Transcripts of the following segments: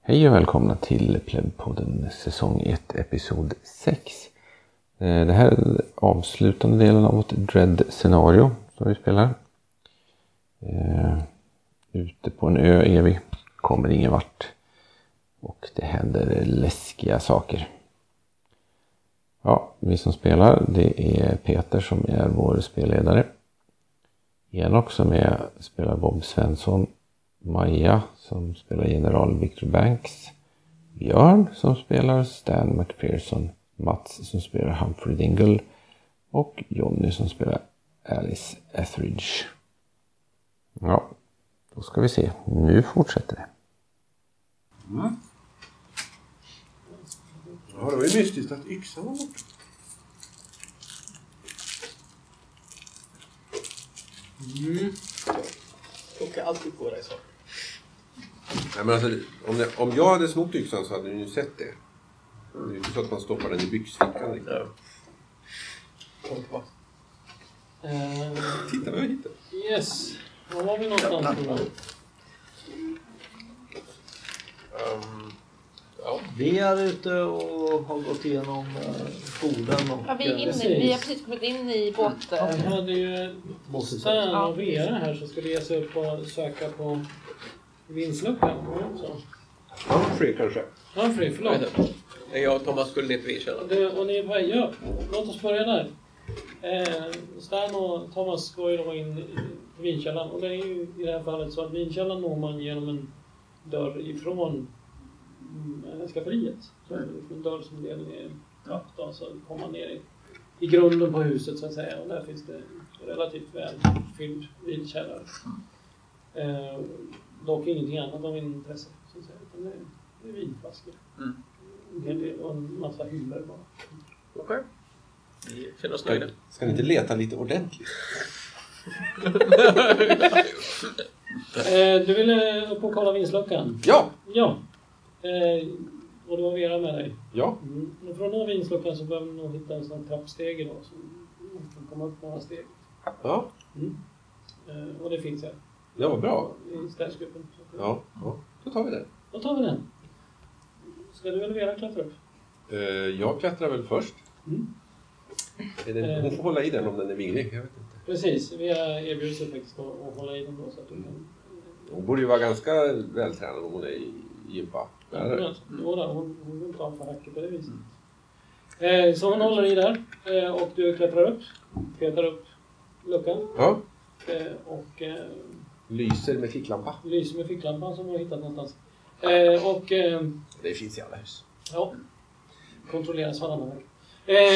Hej och välkomna till Plebpodden säsong 1 episod 6. Eh, Det här är den avslutande delen av vårt Dread scenario som vi spelar. Eh, Ute på en ö är vi, kommer ingen vart och det händer läskiga saker. Ja, vi som spelar det är Peter som är vår spelledare. Enok som är, spelar Bob Svensson. Maja som spelar general Victor Banks. Björn som spelar Stan McPherson. Mats som spelar Humphrey Dingle. Och Jonny som spelar Alice Etheridge. Ja, då ska vi se. Nu fortsätter det. Ja, det var ju mystiskt att yxan var borta. Plockar alltid på dig saker. Nej, men alltså, om, det, om jag hade snott yxan så hade ni ju sett det. Det är ju inte så att man stoppar den i byxfickan riktigt. Kom tillbaka. Eh, Titta vad jag hittade. yes. Var var vi någonstans nu Vi är ute och har gått igenom eh, skolan och... Ja, vi, är inne, Precis. vi har precis kommit in i båt... då? Vi hade ju Måste säga. Stan och Vera här som skulle ge sig upp och söka på vindsluckan. Var det inte så? Humphrey kanske? Humphrey, förlåt. Jag och Thomas skulle ner till vinkällaren. Du, och ni är på väg upp. Låt oss börja där. Eh, Stan och Thomas går ju då in i vinkällaren och det är ju i det här fallet så att vinkällaren når man genom en dörr ifrån mm, eh, skafferiet. Så det är liksom en dörr som leder ner i en trapp då, så kommer man ner i, i grunden på huset så att säga och där finns det en relativt väl fylld vinkällare. Eh, dock ingenting annat av intresse så att säga, utan det är, det är vinflaskor. Mm. En hel del och en massa hyllor bara. Okej. Vi känner oss nöjda. Ska ni inte leta lite ordentligt? Eh, du ville upp och kolla vindsluckan? Ja! Ja. Eh, och det var Vera med dig? Ja. Mm. Men För att nå vindsluckan så behöver du nog hitta en sån trappstege då som man kan komma upp några steg. Ja, Eh, och det finns här det var bra. i städsgruppen. Ja, ja. då tar vi den. Då tar vi den. Ska du eller Vera klättra upp? Eh, jag klättrar väl först. Mm. Är det, hon får hålla i den om den är vinglig. Jag vet inte. Precis, Vera erbjuder sig faktiskt att, att hålla i den då så att du kan... Hon borde ju vara ganska vältränad om hon är gympalärare. Jo då, hon, hon vill inte ha för hackigt på det viset. Eh, så hon håller i där eh, och du klättrar upp. Petar upp luckan. Ja. Eh, och eh, Lyser med ficklampa. lyser med ficklampan som du har hittat någonstans. Eh, och eh, Det finns i alla hus. ja, kontrolleras varannan vecka. Eh,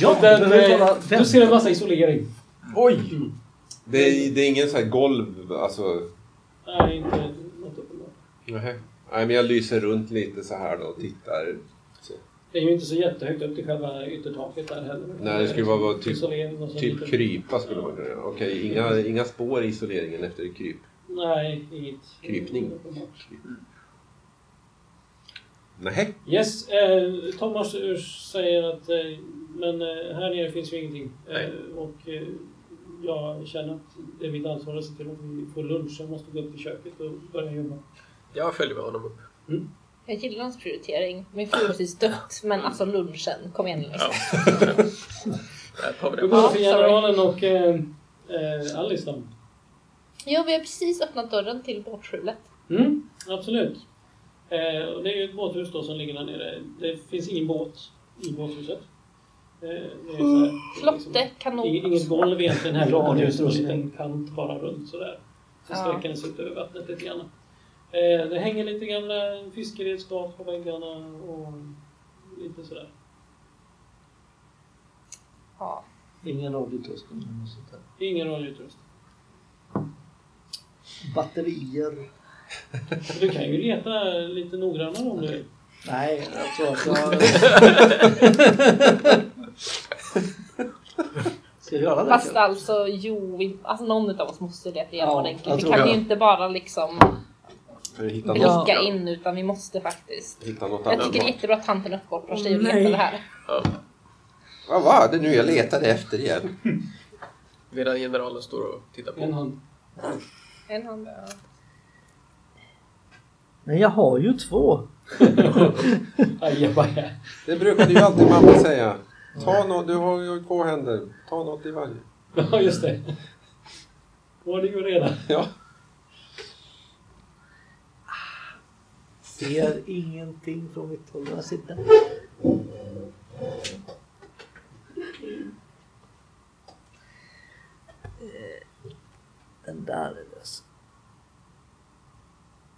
Ja, den, behöver vi eh, kolla du ser en massa isolering. Oj! Det är, det är ingen sån här golv, alltså Nej, inte något uppenbart. Nej, men jag lyser runt lite så här då och tittar. Så. Det är ju inte så jättehögt upp till själva yttertaket där heller. Nej, det skulle bara vara typ- Isolering och så Typ lite- krypa skulle man kunna göra. Okej, inga, inga spår i isoleringen efter kryp. Nej, inget. Krypning. uppenbart. Nej. Yes, eh, Thomas Urs säger att eh, men eh, här nere finns ju ingenting. Nej. Eh, och eh, jag känner att det är mitt ansvar att se till att vi får lunch. Jag måste gå upp till köket och börja jobba. Jag följer med honom upp. Jag gillar hans prioritering. Min fru har precis dött, men alltså lunchen. Kom igen liksom. nu. Ja. Där tar vi Då det. går vi till Ja, sorry. generalen och eh, eh, Alice då. Ja, vi har precis öppnat dörren till båtskjulet. Mm, absolut. Eh, och det är ju ett båthus då som ligger där nere. Det finns ingen båt i båthuset. Eh, det är så här, Mm. Flotte, kanon. Ing- Inget golv egentligen heller, Bra utan just en utrustning. liten kant bara runt sådär. Så Ja. sträcker den sig ut över vattnet lite grann. Eh, det hänger lite gamla fiskeredskap på väggarna och lite sådär. Ja. Ingen radioutrustning. eller något sånt där. Ingen radioutrustning. Batterier. Men Du kan ju leta lite noggrannare om du vill. Nej, jag tror att jag... Ska jag göra det? Fast alltså, jo, vi, alltså någon av oss måste leta igenom Ja, ordentligt. jag Vi tror kan jag. ju inte bara liksom För att hitta något, blicka in, utan vi måste faktiskt. hitta något Jag annat. tycker det är jättebra att tanten uppoffrar sig och letar det här. Vad var det nu jag letade efter igen? Medan generalen står och tittar En på. hand. En hand. Men jag har ju två. Ajabaja. Det brukade ju alltid mamma säga. Ta något, du har ju två händer. Ta något i varje. Ja, just det. Ordning och reda. Ja. Ser ingenting från mitt håll. Jag sitter. Eh, Den där är lös.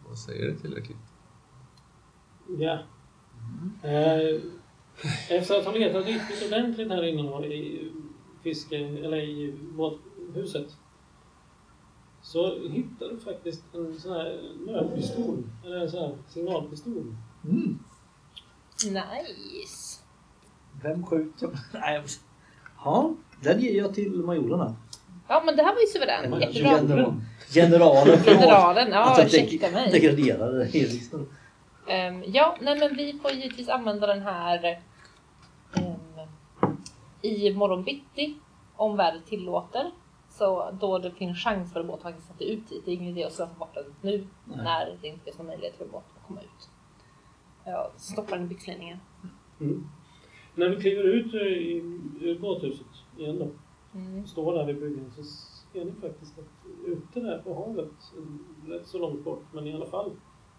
Vad säger det tillräckligt? Ja. Eh, Efter att ha letat riktigt ordentligt här inne då, i fiske, eller i båthuset så hittade du faktiskt en sån här nödpistol, eller en sån här signalpistol. Mm. Nice. Vem skjuter? Nej, jag måste- Ja, den ger jag till majorerna. Ja, men det här var ju suveränt. Jättebra. Generalen. Generalen. Generalen, ja Alltså, ursäkta mig. deg- Degraderade det är liksom. Ehm, ja, nej men vi får givetvis använda den här ehm, i morgonbitti om vädret tillåter. Så då det finns chans för båten att sätta ut dit. Det är ingen idé att slösa bort den nu Nej. när det inte finns någon möjlighet för båten att komma ut. Jag stoppar den i byxlinningen. När vi kliver ut eh, i- ur båthuset igen då, Mm. står där vid bryggan så ser ni faktiskt att ute där på havet, eh, rätt så långt bort, men i alla fall,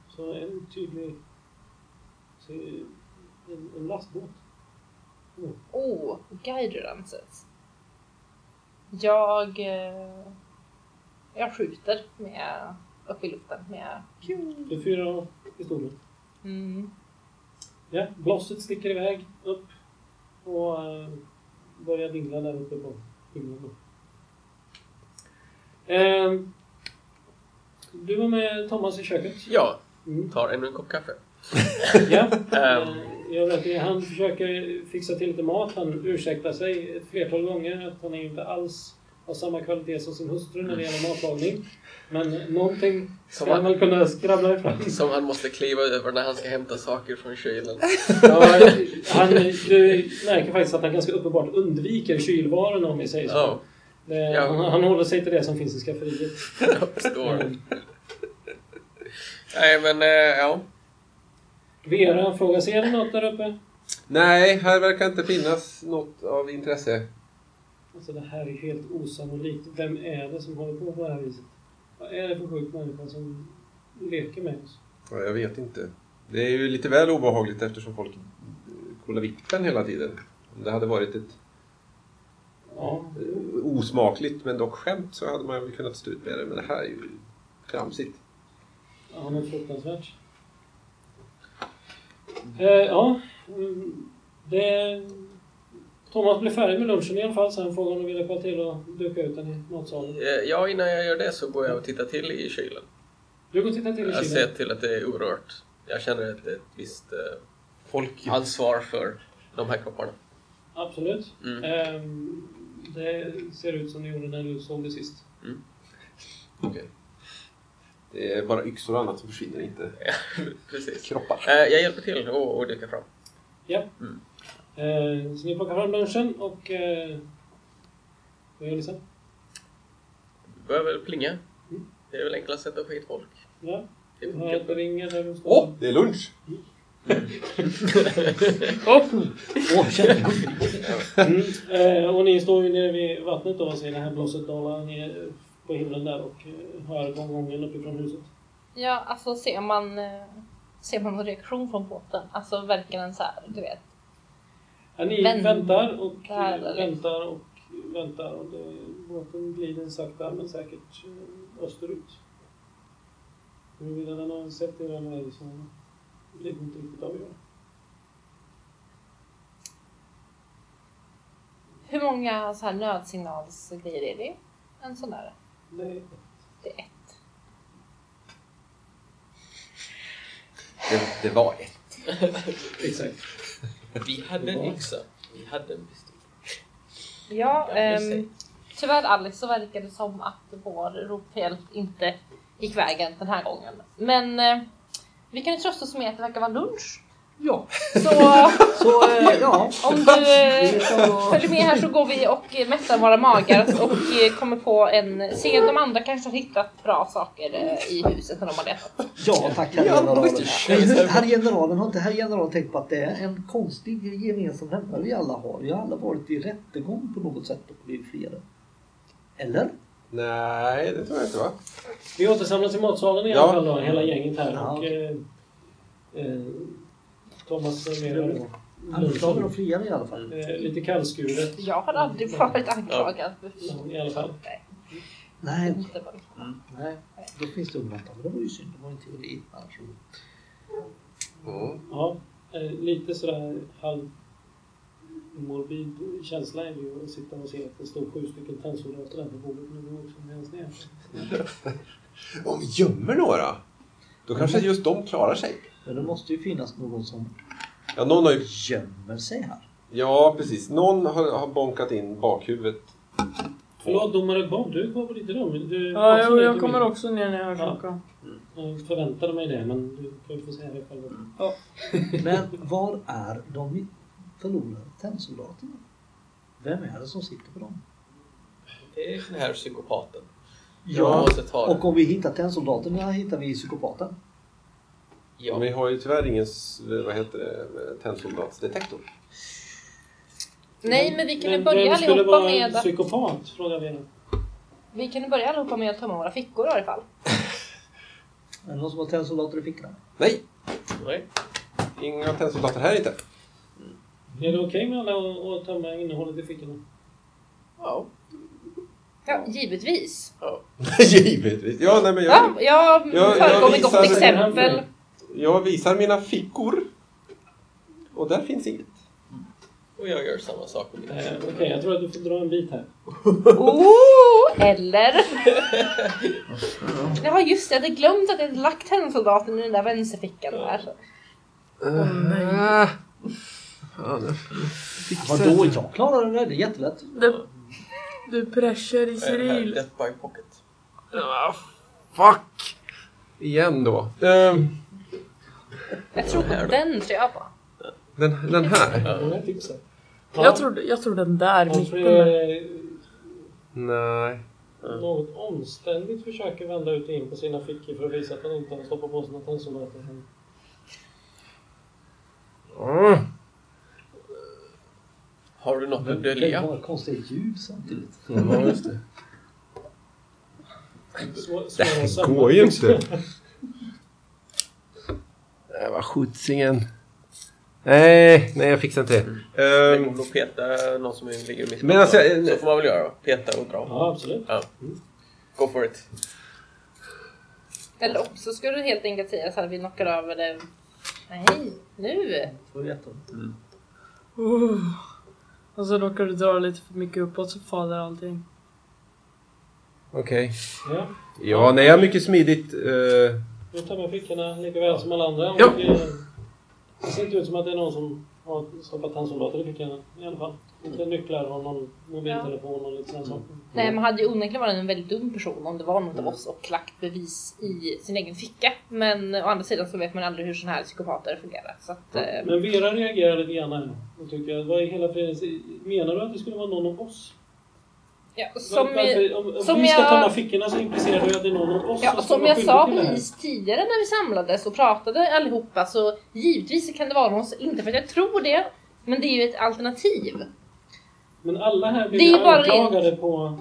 så är en tydlig så är en, en lastbåt. Oh, guider anses. Jag, eh, jag skjuter med, upp i luften med... Det är fyra pistoler. Mm. Ja, blåset sticker iväg upp och eh, börjar dingla där uppe på himlen. Eh, du var med Thomas i köket. Jag Mm. tar ännu en kopp kaffe. Ja, Ehm. eh, jag vet det. Han försöker fixa till lite mat. Han ursäktar sig ett flertal gånger att han inte alls har samma kvalitet som sin hustru när det gäller matlagning. Men någonting Som ska han han, väl kunna skravla ifrån. som han måste kliva över när han ska hämta saker från kylen. Ja, han, du märker faktiskt att han ganska uppenbart undviker kylvarorna om vi säger så. Ja, Det, ja. han, han håller sig till det som finns i skafferiet. jag förstår. Nej men, eh, ja. Vera frågar, ser ni något där uppe? Nej, här verkar inte finnas något av intresse. Alltså det här är helt osannolikt. Vem är det som håller på på det här viset? Vad är det för sjuk människa som leker med oss? Ja, jag vet inte. Det är ju lite väl obehagligt eftersom folk eh, kollar vippen hela tiden. Om det hade varit ett Ja, eh, osmakligt men dock skämt så hade man väl kunnat stå ut med det. Men det här är ju tramsigt. ja men fruktansvärt. Eh, ja, mm, det... Thomas blev färdig med lunchen i alla fall, så han frågade om du ville komma till och duka ut den i matsalen. Eh, Ja, innan jag gör det så går jag och tittar till i kylen. Du går och tittar till i Jag kylen. ser till att det är orört. Jag känner ett, ett visst eh, folk ansvar för de här kropparna. Absolut. Mm. Ehm, det ser ut som det gjorde när du såg det sist. Okej. Det är bara yxor och annat som försvinner inte. Precis. Kroppar. Eh, jag hjälper till och, och dyker fram. Ja. Mm. Ehm, så ni plockar fram lunchen och... eh, vad gör ni sen? Börjar väl plinga. Mm. Det är väl enklast sätt att få hit folk. Ja, Det du hör att det funkar. ringer där du står. Åh, det är lunch! Åh, känner jag. Mm. Eh, och ni står ju nere vid vattnet då och ser det här blåset dala ner på himlen där och eh, hör gånggången uppifrån huset. Ja, alltså ser man, eh, ser man någon reaktion från båten? Alltså verkar den så här, du vet. Ja, ni Väntar väntar och eller? eh, väntar och väntar och det, båten glider sakta men säkert eh, österut. Huruvida den har sett er eller ej så blir det inte riktigt avgörande. Hur många så här nödsignalsgrejer är det? En sån där? Nej. Det är ett. Det, det var ett. Exakt. Vi hade en yxa. Vi hade en pistol. Ja, Ja, just det. ehm, tyvärr Alice så verkar det som att vår rop på hjälp inte gick vägen den här gången. Men eh, vi kan ju trösta oss med att det verkar vara lunch. Ja, Så så eh, ja. om du eh, Så- följer med här så går vi och eh, mättar våra magar och eh, kommer på en... Se, de andra kanske har hittat bra saker eh, i huset när de har letat. Ja, tack herr generalen. Herr generalen, har inte herr generalen tänkt på att det är en konstig gemensam nämnare vi alla har? Vi har alla varit i rättegång på något sätt och blivit friade. Eller? Nej, det tror jag inte va? Vi återsamlas i matsalen i Ja. alla fall då, hela gänget här. Ja. Och, eh, eh, Thomas serverar då Anklagar och lunchen. friade i alla fall. Eh, lite kallskuret Jag har aldrig varit anklagad för fint. i alla fall. Nej, Nej, Mm, inte bara. nej. Då finns det undantag. Det var ju synd. Det var en teori. Annars så- Ja. Ja, eh, lite sådär halvmorbid känsla är det ju att sitta och se att det står sju stycken tennsoldater där på bordet nu går också med ens ner. Om vi gömmer några, då kanske just de klarar sig. Men det måste ju finnas någon som Ja, någon har ju... gömmer sig här. Ja, precis. Någon har, har bonkat in bakhuvudet. Förlåt domare Bob, du går på ditt rum. Du, Ja, jo, absolut, jag du kommer vill. också ner när jag har klockan. Jag förväntade mig det, men du kan ju få säga det själv. Men var är de förlorade tennsoldaterna? Vem är det som sitter på dem? Det är den här psykopaten. Jag Ja, måste ta och den. om vi hittar tennsoldaterna hittar vi psykopaten. Ja. Ja. Vi har ju tyvärr ingen, s- vad heter det, tennsoldatsdetektor. Nej, men vi kan ju Men börja vem skulle allihopa vara med... att- psykopat? Frågar Lena. Vi kan ju börja allihopa med att tömma våra fickor i alla fall. Är det någon som har tennsoldater i fickorna? Nej, Nej. inga tennsoldater här inte. Är det okej med alla att- att tömma innehållet i fickorna? Ja. Ja, givetvis. Givetvis. Ja, nej, men Ja, jag, jag jag föregår med gott visar- exempel. jag visar mina fickor. Och där finns inget. Och jag gör samma sak med mina Eh, Okej, jag tror att du får dra en bit här. Oh, eller? Ja, just det. Jag hade glömt att jag hade lagt tennsoldaten i den där vänsterfickan där. så. Vadå, jag klarar det där. Det är jättelätt. Du, du pressar i Är det här Cyril. Death by Pocket? Fuck! Igen då. Ehm, Jag tror på den, tror jag på. den, den här? Många tipsen. Jag tror, jag tror den där Kanske mitten. där. eh, Nej. något omständigt försöker vända ut och in på sina fickor för att visa att han inte har stoppat på sina tennsoldater. Men Mm. Har du något att Det är Mm. dölja? bara konstiga ljud samtidigt. Mm, Ja, just det. svå- Det svåra här sömmar. går ju inte. Det var skjutsingen. Nej, nej jag fixar inte det. Ehm, Tänk om de petar någon som ligger mitt Men alltså, på. eh, Så får man väl göra då. Peta och dra. Ja, absolut. Ja. Go for it. Eller också skulle det helt enkelt sägas att vi knockar över det. Nej, nu! Får veta. Uh. Och så råkar du dra lite för mycket uppåt så faller allting. Okej. Ja. Ja, nej jag har mycket smidigt. eh, Nu tömmer fickorna lika väl som alla andra. Ja. Och, eh, det ser inte ut som att det är någon som har stoppat tandsoldater i fickorna i alla fall. Inte nycklar och någon mobiltelefon och lite sådana saker. Nej, man hade ju onekligen varit en väldigt dum person om det var något av oss och lagt bevis i sin egen ficka. Men å andra sidan så vet man aldrig hur sådana här psykopater fungerar. Så att, eh, Men Vera reagerar lite grann här. Och tycker att vad i hela fridens... Menar du att det skulle vara någon av oss? ja, som, Varför- om om som vi ska jag- tömma fickorna så implicerar du att det är någon av oss ja, ska som vara jag skyldig sa till det här. precis tidigare när vi samlades och pratade allihopa så givetvis kan det vara någon, inte för att jag tror det, men det är ju ett alternativ. Men alla här blir Det är ju ju bara anklagade på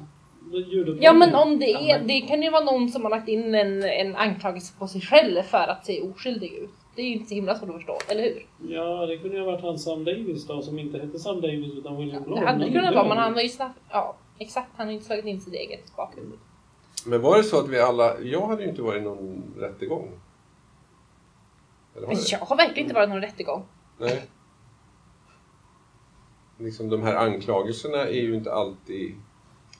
ljudupptagningen. Ja men om det är, det kan ju vara någon som har lagt in en, en anklagelse på sig själv för att se oskyldig ut. Det är ju inte så himla svårt att förstå, eller hur? Ja, det kunde ju ha varit han Sam Davis då, som inte hette Sam Davis utan William Blom. Det hade ju Men kunnat det- vara, men han var ju snabbt, ja exakt, han har ju inte slagit in sitt eget bakhuvud. Men var det så att vi alla... Jag hade ju inte varit i någon rättegång. Eller har Men jag? jag har verkligen inte varit någon rättegång. Nej. Liksom de här anklagelserna är ju inte alltid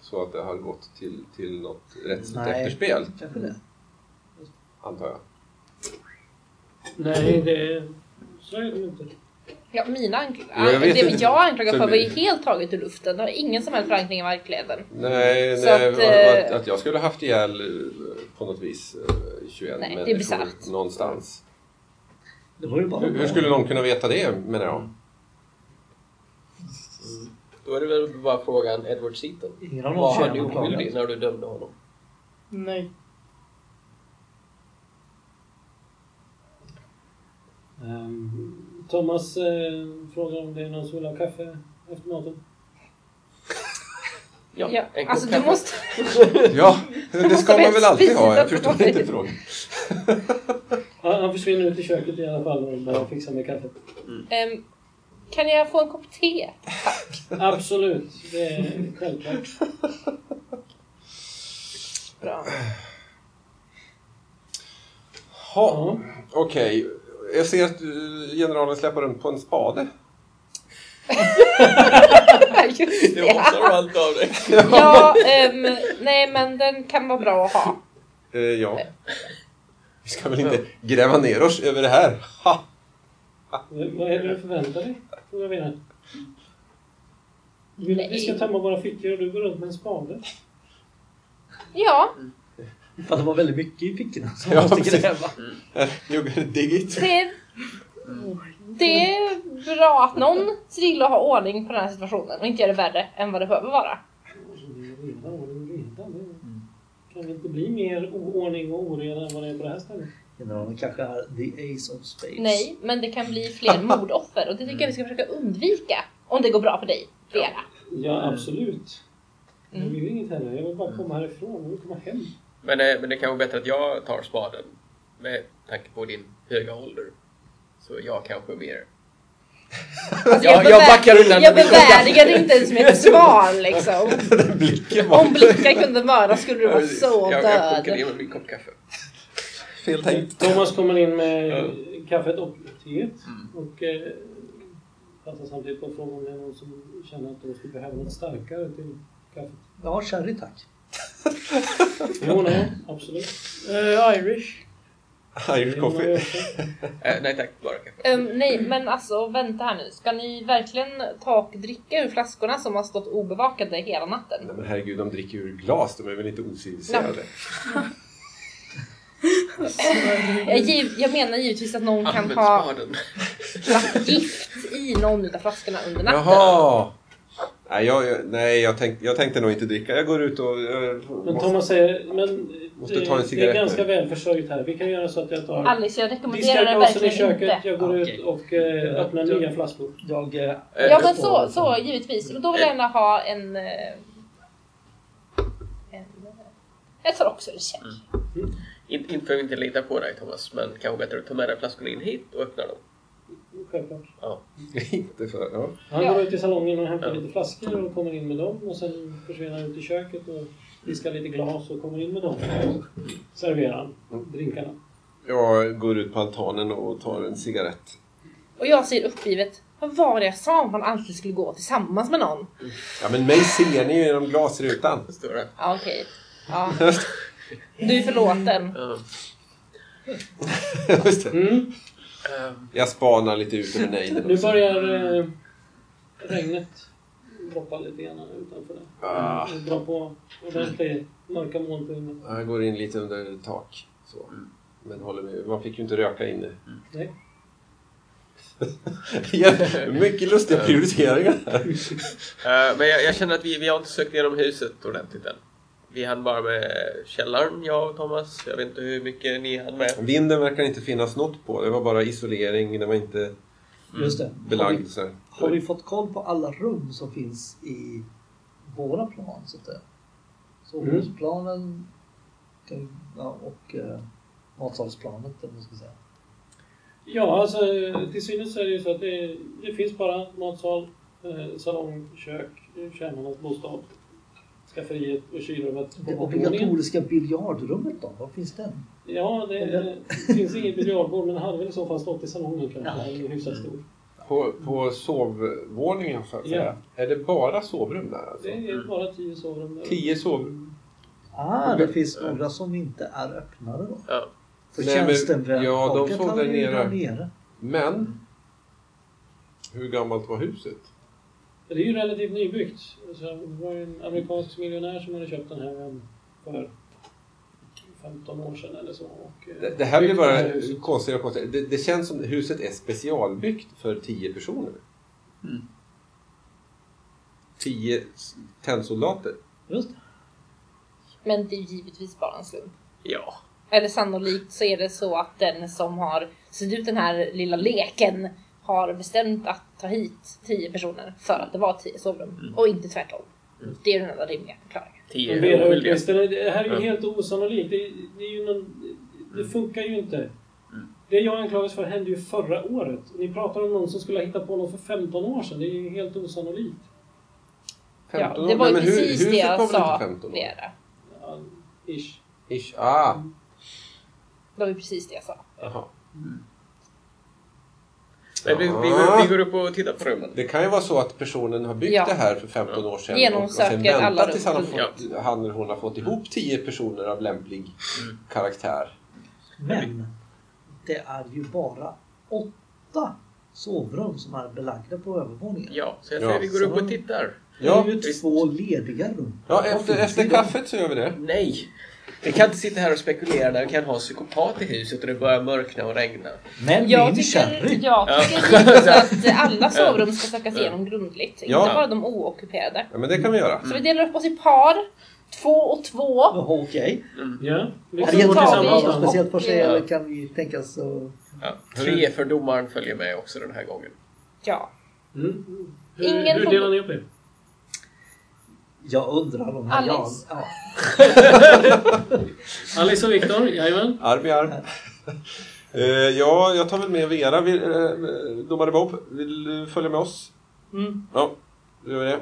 så att det har gått till, till något rättsligt Nej. efterspel, Kanske det. antar jag. Nej, det... Så är det inte. Ja, mina anklagelser, Ja, jag vet det inte. jag anklagar för Så var ju det- helt taget ur luften. Det har ingen som helst förankring i verkligheten. Nej, Så nej att, att, eh, att, att jag skulle haft ihjäl eh, på något vis eh, 21 Nej, det är människor bisarrt. någonstans. Det var ju bara Hur, hur skulle någon kunna veta det menar jag? Då är det väl bara frågan Edward Seaton. Ingen av dem Var han känner åklagaren. oskyldig när du dömde honom? Nej. Ehm, Thomas eh, frågar om det är någon som vill ha kaffe efter maten. Ja, en kopp alltså du kaffe. måste... Ja, det ska väl man väl alltid ha. Jag spisa förstår det. inte frågan. Han, han försvinner ut i köket i alla fall och börjar fixa med kaffet. Ehm, kan jag få en kopp te? Absolut, det är självklart. Bra. Ha, Ja. Okej, jag ser att eh, generalen släpar runt på en spade. Just Jag det. måste ha allt av dig. Ja, ehm, nej men den kan vara bra att ha. Eh, ja. Vi ska väl inte gräva ner oss över det här? Ha! V- Vad är det du förväntar dig? Frågar Vera. Du vill att vi ska tömma våra fickor och du går runt med en spade. Ja, För det var väldigt mycket i fickorna som Ja, måste precis. gräva. You gotta dig it. det, det är bra att någon ser till att ha ordning på den här situationen och inte göra det värre än vad det behöver vara. Ordning och reda, ordning och reda. Det kan väl inte bli mer oordning och oreda än vad det är på det här stället? Generalen kanske är the ace of spades. Nej, men det kan bli fler mordoffer och det tycker jag vi ska försöka undvika om det går bra för dig, Vera. Ja, absolut. Mm. Jag vill inget heller. Jag vill bara komma härifrån. Jag vill komma hem. Men, eh, men det kan vara bättre att jag tar spaden. Med tanke på din höga ålder. Så jag kanske mer... Jag, jag backar undan. Alltså, Jag bevärdigade inte ens med ett svar liksom. Blicken var Om blickar kunde mörda skulle du vara så jag, jag kokar död. ner med min kopp kaffe. fel tänkt. Thomas kommer in med Ja. kaffet och teet. Och eh, passar samtidigt på att fråga om det är någon som känner att de skulle behöva något starkare till kaffet. Ja, sherry tack. Jo, nej, absolut. Eh, Irish. Irish Det har jag coffee. också. Eh, nej tack, bara kaffe. Ehm, nej, men alltså vänta här nu. Ska ni verkligen ta och dricka ur flaskorna som har stått obevakade hela natten? Nej men herregud, de dricker ur glas. De är väl inte ociviliserade? Jag, giv, jag menar givetvis att någon kan Mm. Använd ha spaden. lagt gift i någon av flaskorna under natten. Jaha! Nej, jag, jag- nej jag, tänkte, jag tänkte nog inte dricka. Jag går ut och... Jag, Men måste, Thomas säger, men Måste det, ta en det är cigarett ganska nu. välförsörjt här. Vi kan göra så att jag tar Alice, jag rekommenderar det diskarglasen i verkligen köket. inte. Jag går Okej. ut och eh, öppnar Jag- nya flaskor. Jag... eh, Eh, Ja men så, så givetvis. Och då vill jag gärna ha en... eh, en eh, jag tar också en check. In, inte för att inte lita på dig Thomas, men kanske bättre att ta med dig flaskorna in hit och öppna dem. Självklart. inte för, ja. Han Ja. går ut i salongen och hämtar Ja. lite flaskor och kommer in med dem och sen försvinner han ut i köket och diskar lite glas och kommer in med dem. Serverar han drinkarna. Jag går ut på altanen och tar en cigarett. Och jag säger uppgivet, vad var det jag sa om man alltid skulle gå tillsammans med någon? Ja, men mig ser ni ju genom glasrutan. Förstår du? Ja okej. Ja. Du är förlåten. Ja. Just det. Mm. Ehm, Jag spanar lite ut över Nu nejden. börjar eh, regnet droppa lite grann utanför där. Ah. Det drar på ordentligt mörka moln på himlen. Jag går in lite under tak. Så. Men håller med. Man fick ju inte röka inne. Nej. Ja, Mycket lustiga prioriteringar här. eh, men jag, jag känner att vi, vi har inte sökt igenom huset ordentligt än. Vi hann bara med källaren, jag och Thomas. Jag vet inte hur mycket ni hann med. Vinden verkar inte finnas något på. Det var bara isolering. Det var inte Mm. Just det. Har vi, belagd. Så här. har vi fått koll på alla rum som finns i våra plan så att säga? Sovrumsplanen kan- ja, och eh, matsalsplanet eller vad man ska säga. Ja, alltså till synes så är det ju så att det, det finns bara matsal, eh, salong, kök, tjänarnas bostad, skafferiet och kylrummet på Det våningen. obligatoriska biljardrummet då? Var finns den? Ja, det eh, finns inget biljardbord men det hade väl i så fall stått i salongen kanske. Eller hyfsat stor. På, på sovvåningen så att Ja. säga. Är det bara sovrum där alltså? Det är bara tio sovrum där. Tio sovrum? Ah, det finns några som inte är öppnade då. Ja. För Nej, men- tjänsten ja, de såg där nere. nere. Men hur gammalt var huset? Det är ju relativt nybyggt. Alltså, det var ju en amerikansk miljonär som hade köpt den här um, för 15 år sedan eller så. Och, eh, Det, det här blir byggt bara här huset. konstigare och konstigare. Det, det känns som huset är specialbyggt för 10 personer. 10 s- tennsoldater. Just det. Men det är givetvis bara en slump. Ja. Eller sannolikt så är det så att den som har sett ut den här lilla leken har bestämt att ta hit 10 personer för att det var 10 sovrum och inte tvärtom. Det är den enda rimliga förklaringen. Tio De delar ut oskyldiga. västarna. Det här är ju Mm. helt osannolikt. Det, det, är ju någon, det funkar ju inte. Mm. Det jag anklagas för hände ju förra året. Ni pratar om någon som skulle ha hittat på något för 15 år sedan. Det är ju helt osannolikt. Ja, 15 det år. var ju Nej, men hu- precis huset det var väl jag inte sa 15 år? flera. Ja, ish. Ish. Ah, Det var ju precis det jag sa. jaha. Men vi, vi, går, vi går upp och tittar på rummen. Det kan ju vara så att personen har byggt Ja. det här för 15 år sedan Genomsöker och, och sen alla väntat tills han, har rum. fått, han eller hon har fått ihop 10 personer av lämplig karaktär. Men det är ju bara åtta sovrum som är belagda på övervåningen. Ja, så jag säger Ja. vi går upp och tittar. Ja, det är ju visst. två lediga rum. ja Vad efter, finns det i efter dem? kaffet så gör vi det. Nej! Vi kan inte sitta här och spekulera när vi kan ha en psykopat i huset och det börjar mörkna och regna. Men Jag min tycker, sherry. Ja. jag tycker givetvis att alla sovrum ska sökas igenom grundligt. Inte Ja. bara de oockuperade. Ja, men det kan vi göra. Så vi delar upp oss i par. Två och två. Jaha, Okej. Mm. Alltså, Ja. Och Är så det Liksom går tar vi- egentligen något tillsammans. speciellt för sig Ja. eller kan vi tänkas... Uh, Ja. Tre för domaren följer med också den här gången. Ja. Mm. Ingen Hur, hur får- delar ni upp er? jag undrar om här Alex. Jan... Ja. Alice och Viktor, jajamän. Arm i arm. Eh, ja, jag tar väl med Vera. Vill, eh, domare Bob, vill du följa med oss? Mm. Ja, då gör vi det.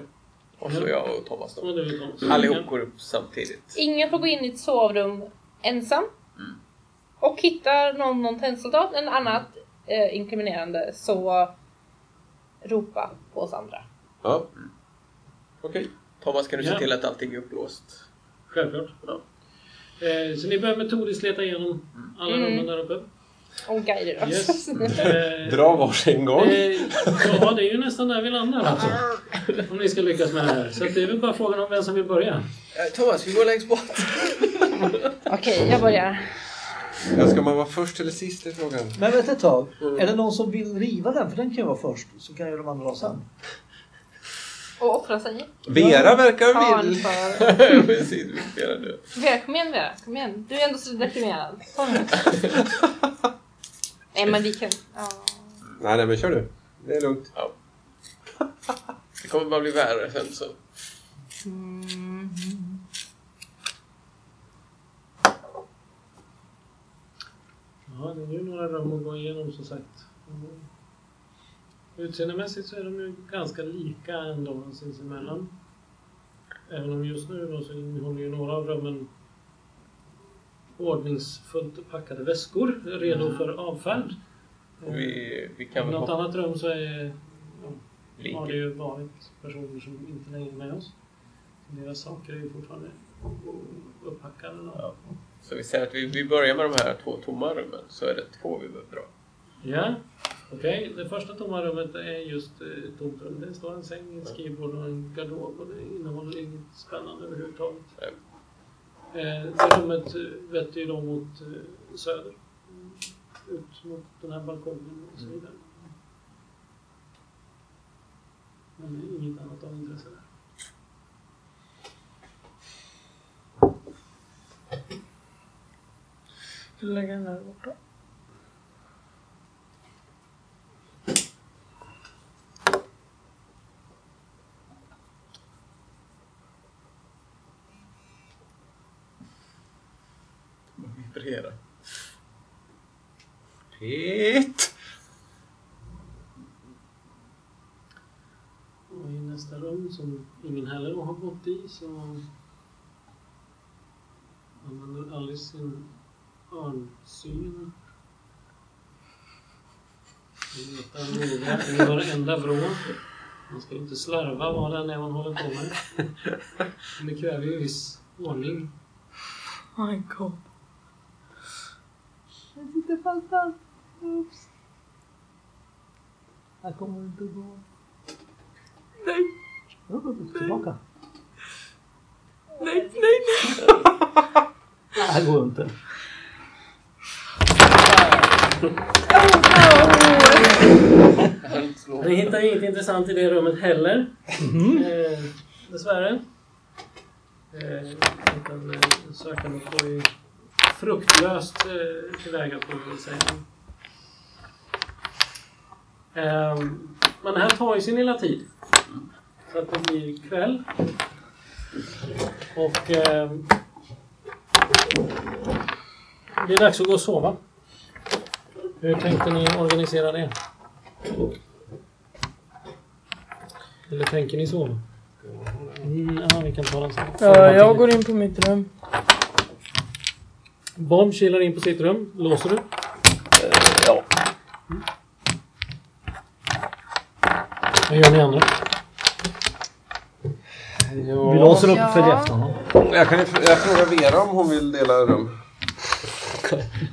Och så jag och Thomas Ja, då. det är väl de. Allihop går upp samtidigt. Ingen får gå in i ett sovrum ensam. Och hittar någon, någon tennsoldat eller annat eh, inkriminerande så ropa på oss andra. Ja. Okej. Thomas, kan du se Ja. till att allting är uppblåst? Självklart. Ja. Eh, så ni börjar metodiskt leta igenom alla Mm. rummen där uppe? Och guider oss. Yes. Eh, Dra varsin gång. Eh, ja, det är ju nästan där vi landar alltså. Om ni ska lyckas med det här. Så att det är väl bara frågan om vem som vill börja. Eh, Thomas, vi går längst bort! Okej, jag börjar. Ja, Ska man vara först eller sist i frågan? Men vänta ett tag. Är det någon som vill riva den? För den kan ju vara först. Så kan ju de andra ha sen. Och offra sig. Vera verkar Fan vill. för... Precis, vi spelar nu. Vera, kom igen Vera. Kom igen. Du är ändå så deprimerad. Ta nu. Nej men vi kan... Ja. Nej, nej, men kör du. Det är lugnt. Ja. Det kommer bara bli värre sen så. Mm. Ja, det är ju några rum att gå igenom som sagt. Mm. Utseendemässigt så är de ju ganska lika ändå sinsemellan. Även om just nu då så innehåller ju några av rummen ordningsfullt packade väskor redo för avfärd. Och vi, vi I kan väl något hoppa annat rum så är har det lite. ju varit personer som inte längre är med oss. Deras saker är ju fortfarande upphackade. Då. Ja. Så vi säger att vi, vi börjar med de här två tomma rummen, så är det två vi behöver dra. Ja, okej. Det första tomma rummet är just eh, tomt rum. Det står en säng, ett skrivbord och en garderob och det innehåller inget spännande överhuvudtaget. Nej. Eh, det rummet eh, vetter ju då mot eh, söder. Mm, Ut mot den här balkongen och så vidare. Men det är inget annat av intresse där. Vill du lägga den där borta? Vibrera. Pitt! Och i nästa rum, som ingen heller har gått i, så använder Alice sin örnsyn. Hon letar noga i varenda vrå. Man ska ju inte slarva vad det än är man håller på med. Men det kräver ju viss ordning. My god. Jag sitter fast här. Oops. Här kommer det inte att gå. Nej, Mm. Jo, tillbaka. nej, nej, nej! Det här går inte. Ni hittar inget intressant i det rummet heller. Eh, dessvärre. Eh, utan eh, sökande får ju fruktlöst eh, tillväga får vi väl säga. Eh, men det här tar ju sin lilla tid. Så att det blir kväll. Och eh, det är dags att gå och sova. Hur tänkte ni organisera det? Eller tänker ni sova? Mm, ja, vi kan ta den sen. Ja, jag går in på mitt rum. Bob kilar in på sitt rum. Låser du? Ja. Vad gör ni andra? Vi låser upp och följer efter honom. Jag, kan, ju fr- jag frågar Vera om hon vill dela rum.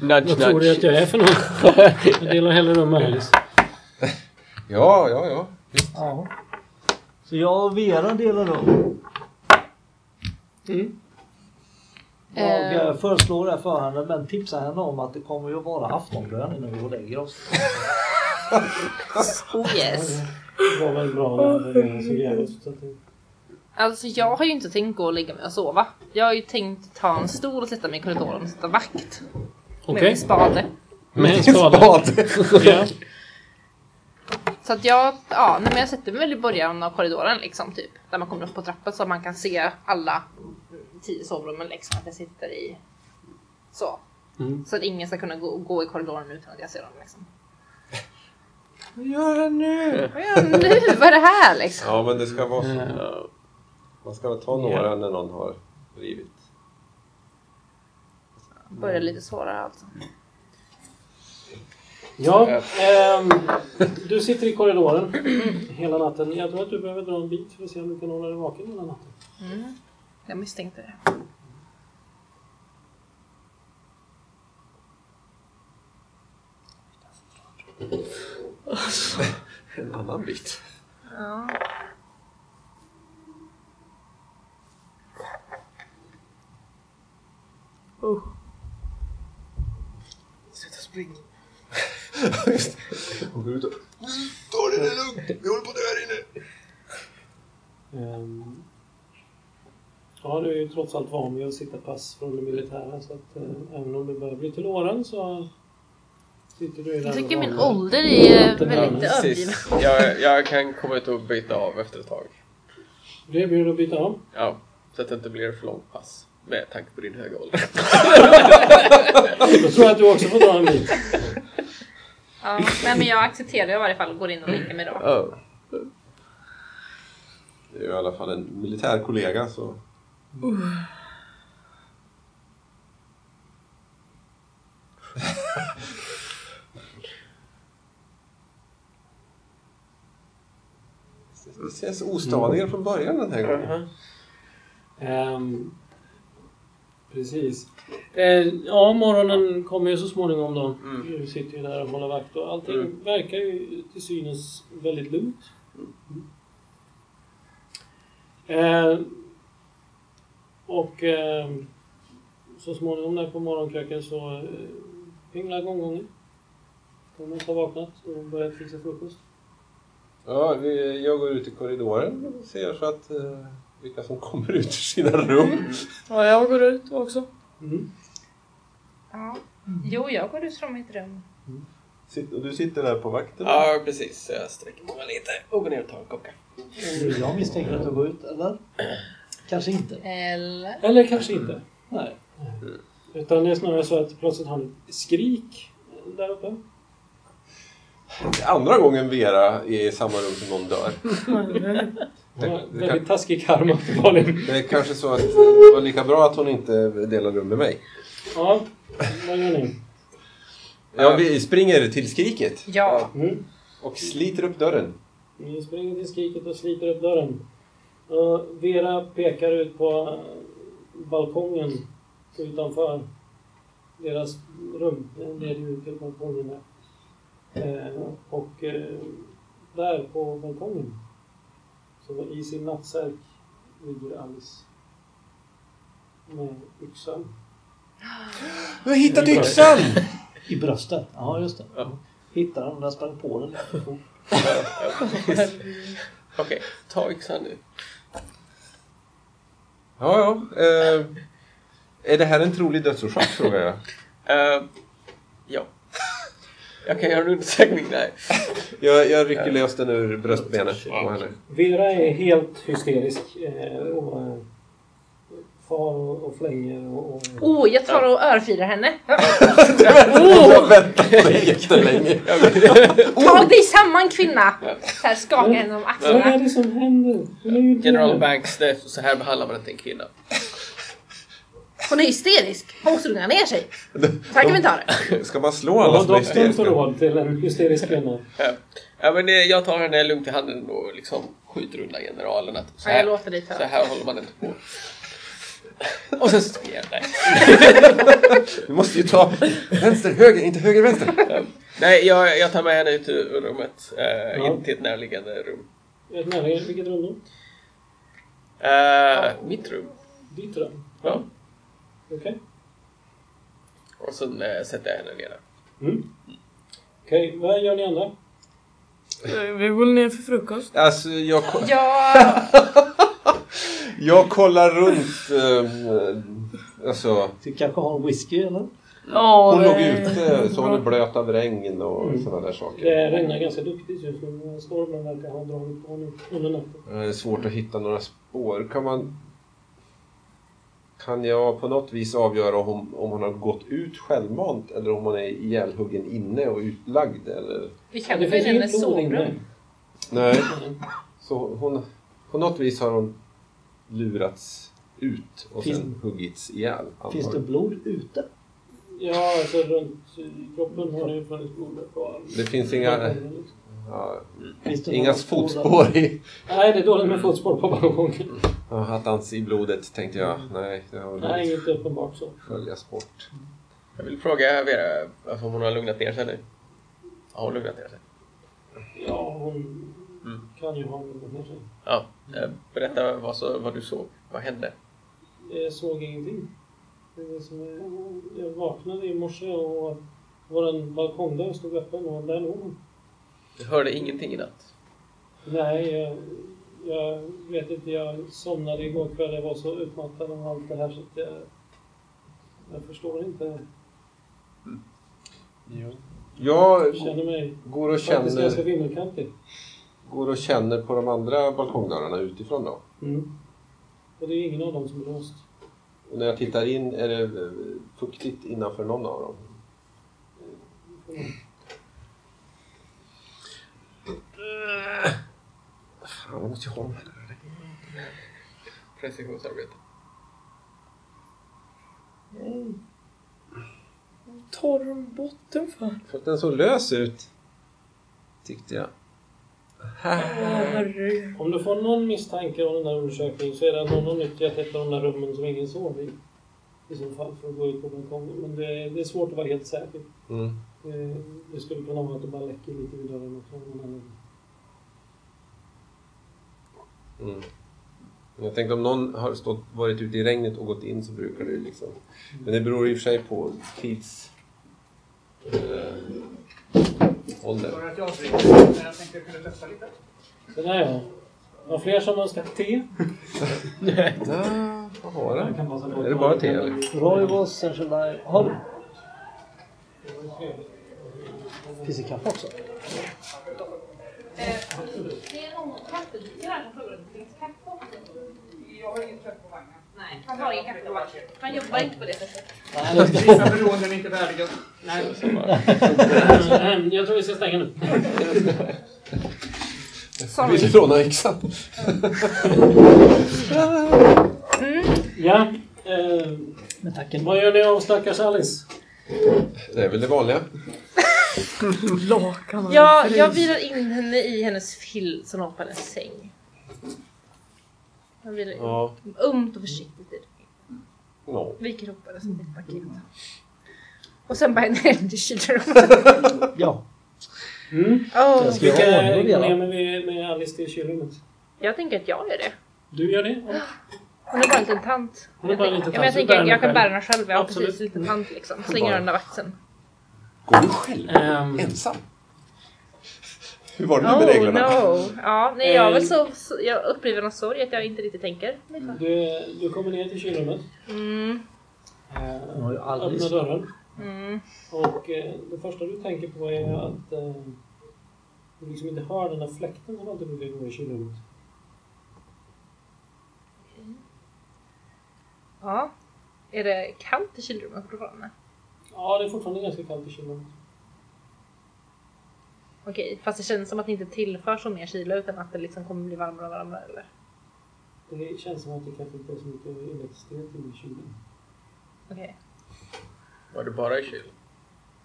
Nudge, Vad tror du att nudge. jag är för någon? Jag delar hellre rum med Alice. Ja, ja, ja. Ja. Så jag och Vera delar rum. Jag eh, föreslår det här för henne men tipsar henne om att det kommer ju att vara aftonbön innan vi går och lägger oss. Oh yes. Det var väl bra när det redan såg jävligt ut. så att det- Alltså jag har ju inte tänkt gå och lägga mig och sova. Jag har ju tänkt ta en stol och sätta mig i korridoren och sätta vakt. Med Okej. min spade. Med en spade. Ja. Så att jag, ja, nej, men jag sätter mig väl i början av korridoren liksom typ. Där man kommer upp på trappan så man kan se alla tio sovrummen liksom. Att jag sitter i så. Mm. Så att ingen ska kunna gå, gå i korridoren utan att jag ser dem liksom. Vad gör han nu? Vad gör jag nu? Vad är det här liksom? Ja, men det ska vara så. Eh, Man ska väl ta några när någon har rivit. Börjar lite svårare alltså. Ja, ehm, du sitter i korridoren hela natten. Jag tror att du behöver dra en bit för att se om du kan hålla dig vaken hela natten. Mm. Jag misstänkte det. En annan bit. Ja. Uh. Sluta springa. Hon går ut och... Ta det där lugnt! Vi håller på att dö här inne! Ehm, ja, du är ju trots allt van vid att sitta pass från det militära så att eh, även om du börjar bli till åren så sitter du ju där Jag tycker och min vanar. ålder är Den här väldigt överdriven. Precis. Jag, jag kan komma ut och byta av efter ett tag. Du erbjuder att byta om. Ja, så att det inte blir för långt pass. Med tanke på din höga ålder. Jag tror att du också får dra en bit. Ja, nej, men jag accepterar i varje fall och går in och lägger mig då. Oh. Det är ju i alla fall en militär kollega så... Det känns ostadigare från början den här gången. Ehm, precis. Eh, ja, morgonen kommer ju så småningom då. Mm. Du sitter ju där och håller vakt och allting Mm. verkar ju till synes väldigt lugnt. Eh, och ehm, så småningom där på morgonkröken så eh, pinglar gonggongen. Thomas har vaknat och börjat fixa frukost. Ja, vi, jag går ut i korridoren och ser så att eh, vilka som kommer ut ur sina rum. Ja, jag går ut också. Mm. Ja. Jo, jag går ut från mitt rum. Sitt- och Du sitter där på vakten. Ja, precis. Jag sträcker på mig lite och går ner och tar en kopp kaffe. Jag misstänker att du går ut, eller? Kanske inte. Eller? Eller kanske inte. Nej. Mm. Utan det är snarare så att plötsligt har ni ett skrik där uppe. Det är Andra gången Vera är i samma rum som någon dör. Hon har Det- det väldigt taskig karma uppenbarligen. Det är kanske så att det var lika bra att hon inte delar rum med mig. Ja, vad gör ni? Ja, vi springer till skriket Ja. Mm. och sliter upp dörren. Ni springer till skriket och sliter upp dörren. Eh, Vera pekar ut på eh, balkongen utanför deras rum. Den leder ju till balkongen där. Eh, Och eh, där på balkongen, så i sin nattsärk, ligger Alice med yxan Du har hittat yxan! I bröstet? Ja, just det. Ja. Hittade den, där sprang på den. lite fort. Okej, ta yxan nu. Ja, ja. Eh, är det här en trolig dödsorsak frågar jag. Eh, ja. Jag kan göra en undersökning där. Jag, jag rycker lös den ur bröstbenet på henne. Vera är helt hysterisk. eh, Och eh, far och och flänger och... och Oh, jag tar och örfilar henne. Jag har väntat jättelänge. Ta dig samman kvinna! Så här, skaka henne om vad är axlarna. det som händer? Hon är ju General död. Banks, det är så här behandlar man inte en kvinna. Hon är hysterisk. Hon måste lugna ner sig. Så här kan vi inte ha det. Ska man slå Jag alla har som är dock stumt hysteriska? råd till en hysterisk kvinna. Eh, Ja, men eh, jag tar henne lugnt i handen och liksom skjuter undan generalen. Att så, Ja, jag här, låter dig ta så det. här håller man inte på. Och sen så ger jag dig. Du måste ju ta vänster, höger, inte höger, vänster. Nej, jag, jag tar med henne ut ur rummet. eh, Ja. In till ett närliggande rum. Ett nära, vilket rum då? Eh, Mitt rum. Ditt rum? Ja. Okej. Och sen eh, sätter jag henne ner där. Mm. Okej, vad gör ni andra? Eh, Vi går ner för frukost. Alltså, jag, ko- Jag, jag kollar runt. Eh, alltså, Du kanske har en whisky eller? Ja, hon det- låg ute så hon är blöt av regn och Mm. sådana där saker. Det regnar ganska duktigt just nu. men Stormen verkar ha dragit på nu under natten. Eh, Det är svårt att hitta några spår. Kan man... Kan jag på något vis avgöra om hon, om hon har gått ut självmant eller om hon är ihjälhuggen inne och utlagd? Eller? vi Ja, kan det gå in finns i hennes inget blod sovrum. inne. Nej. Så hon, på något vis har hon lurats ut och Finns- sen huggits ihjäl. Finns det antagligen. blod ute? Ja, alltså runt i kroppen har det ju funnits blod kvar. Det finns inga, liksom. ja, Finns det inga några spår fotspår i Nej, det är dåligt med fotspår på balkongen. Ja, hattans i blodet tänkte jag. Mm. Nej, det har Nej, väl inget uppenbart så. sköljas bort. Jag vill fråga Vera varför hon har lugnat ner sig nu. Har hon lugnat ner sig? Ja, hon Mm. kan ju ha något med sig. Ja. eh, Berätta vad, så, vad du såg. Vad hände? Jag Eh, såg ingenting. Det är det som är- Jag vaknade i morse och vår balkongdörr stod öppen och där låg hon. Du hörde ingenting i natt. Nej, jag, Eh, jag vet inte. Jag somnade igår kväll. Jag var så utmattad av allt det här så att jag, jag förstår inte. Jag Jag känner mig går och faktiskt ganska känner, vimmelkantig. går och känner på de andra balkongdörrarna utifrån då. Mm. Och det är ingen av dem som är låst. Och när jag tittar in är det eh, fuktigt innanför någon av dem. Fan, jag måste ju ha dem här. Precisionsarbete. Tar du botten för? För att den såg lös ut. Tyckte jag. Åh, herregud. Om du får någon misstanke om den där undersökningen så är det att någon har nyttjat ett av de där rummen som ingen sov i. I så fall för att gå ut på balkongen. Men det, det är svårt att vara helt säker. Mm. Eh, Det skulle kunna vara att det bara läcker lite vid dörren också. av någon anledning. Mm. Jag tänkte om någon har stått, varit ute i regnet och gått in så brukar det ju liksom... Men det beror i och för sig på tids... Eh, ålder. Sådär ja. Har fler som önskar te? Ja, vad har Jag den? kan passa på att Är det ta bara en te, till. eller? Roy was särskild... Har du? Finns det kaffe också? Det är någon kaffedrickare här som frågar om det finns kaffe också. Nej, han har ingen kaffe på vagnen. Han jobbar inte på det sättet. Vissa beroenden är inte värdiga. Nej. Ehm, Jag tror vi ska stänga nu. Sorry. Vill du låna yxan? Ja. ehm, Eh, Med tacken. Vad gör ni om stackars Alice? Det är väl det vanliga. Lakan. Jag, jag virar in henne i hennes filt som låg på hennes säng. Jag virar in. Ja. Ömt och försiktigt i det. No. Viker ihop henne som ett paket. Och sen bara ner henne till kylrummet. Ja. Åh, Ska jag ha Vilka går ordning ner redan? med, med Alice till kylrummet? Jag tänker att jag gör det. Du gör det? Ja. Hon är bara en liten tant. Hon är bara en liten Ja, tant, men jag så tänker bär jag, den jag kan själv. bära den själv. Ja Absolut. Mm. precis, lite tant liksom. Slänger Bara. den under axeln. Går du själv? Ehm, Ensam? Hur var det nu Oh med reglerna? no! Ja, nej jag är väl Eh. så, så jag upplever någon sorg att jag inte riktigt tänker. du, du kommer ner till kylrummet. Mm. Eh, Hon har ju aldrig... öppnar dörren. Mm. Och eh, det första du tänker på är att eh, du liksom inte hör den där fläkten som alltid brukar gå i kylrummet. Ja. Är det kallt i kylrummet fortfarande? Ja, det är fortfarande ganska kallt i kylrummet. Okej, fast det känns som att det inte tillför så mer kyla utan att det liksom kommer bli varmare och varmare eller? Det känns som att det kanske inte är så mycket E elektricitet i kylen. Okej. Var du bara i kylen?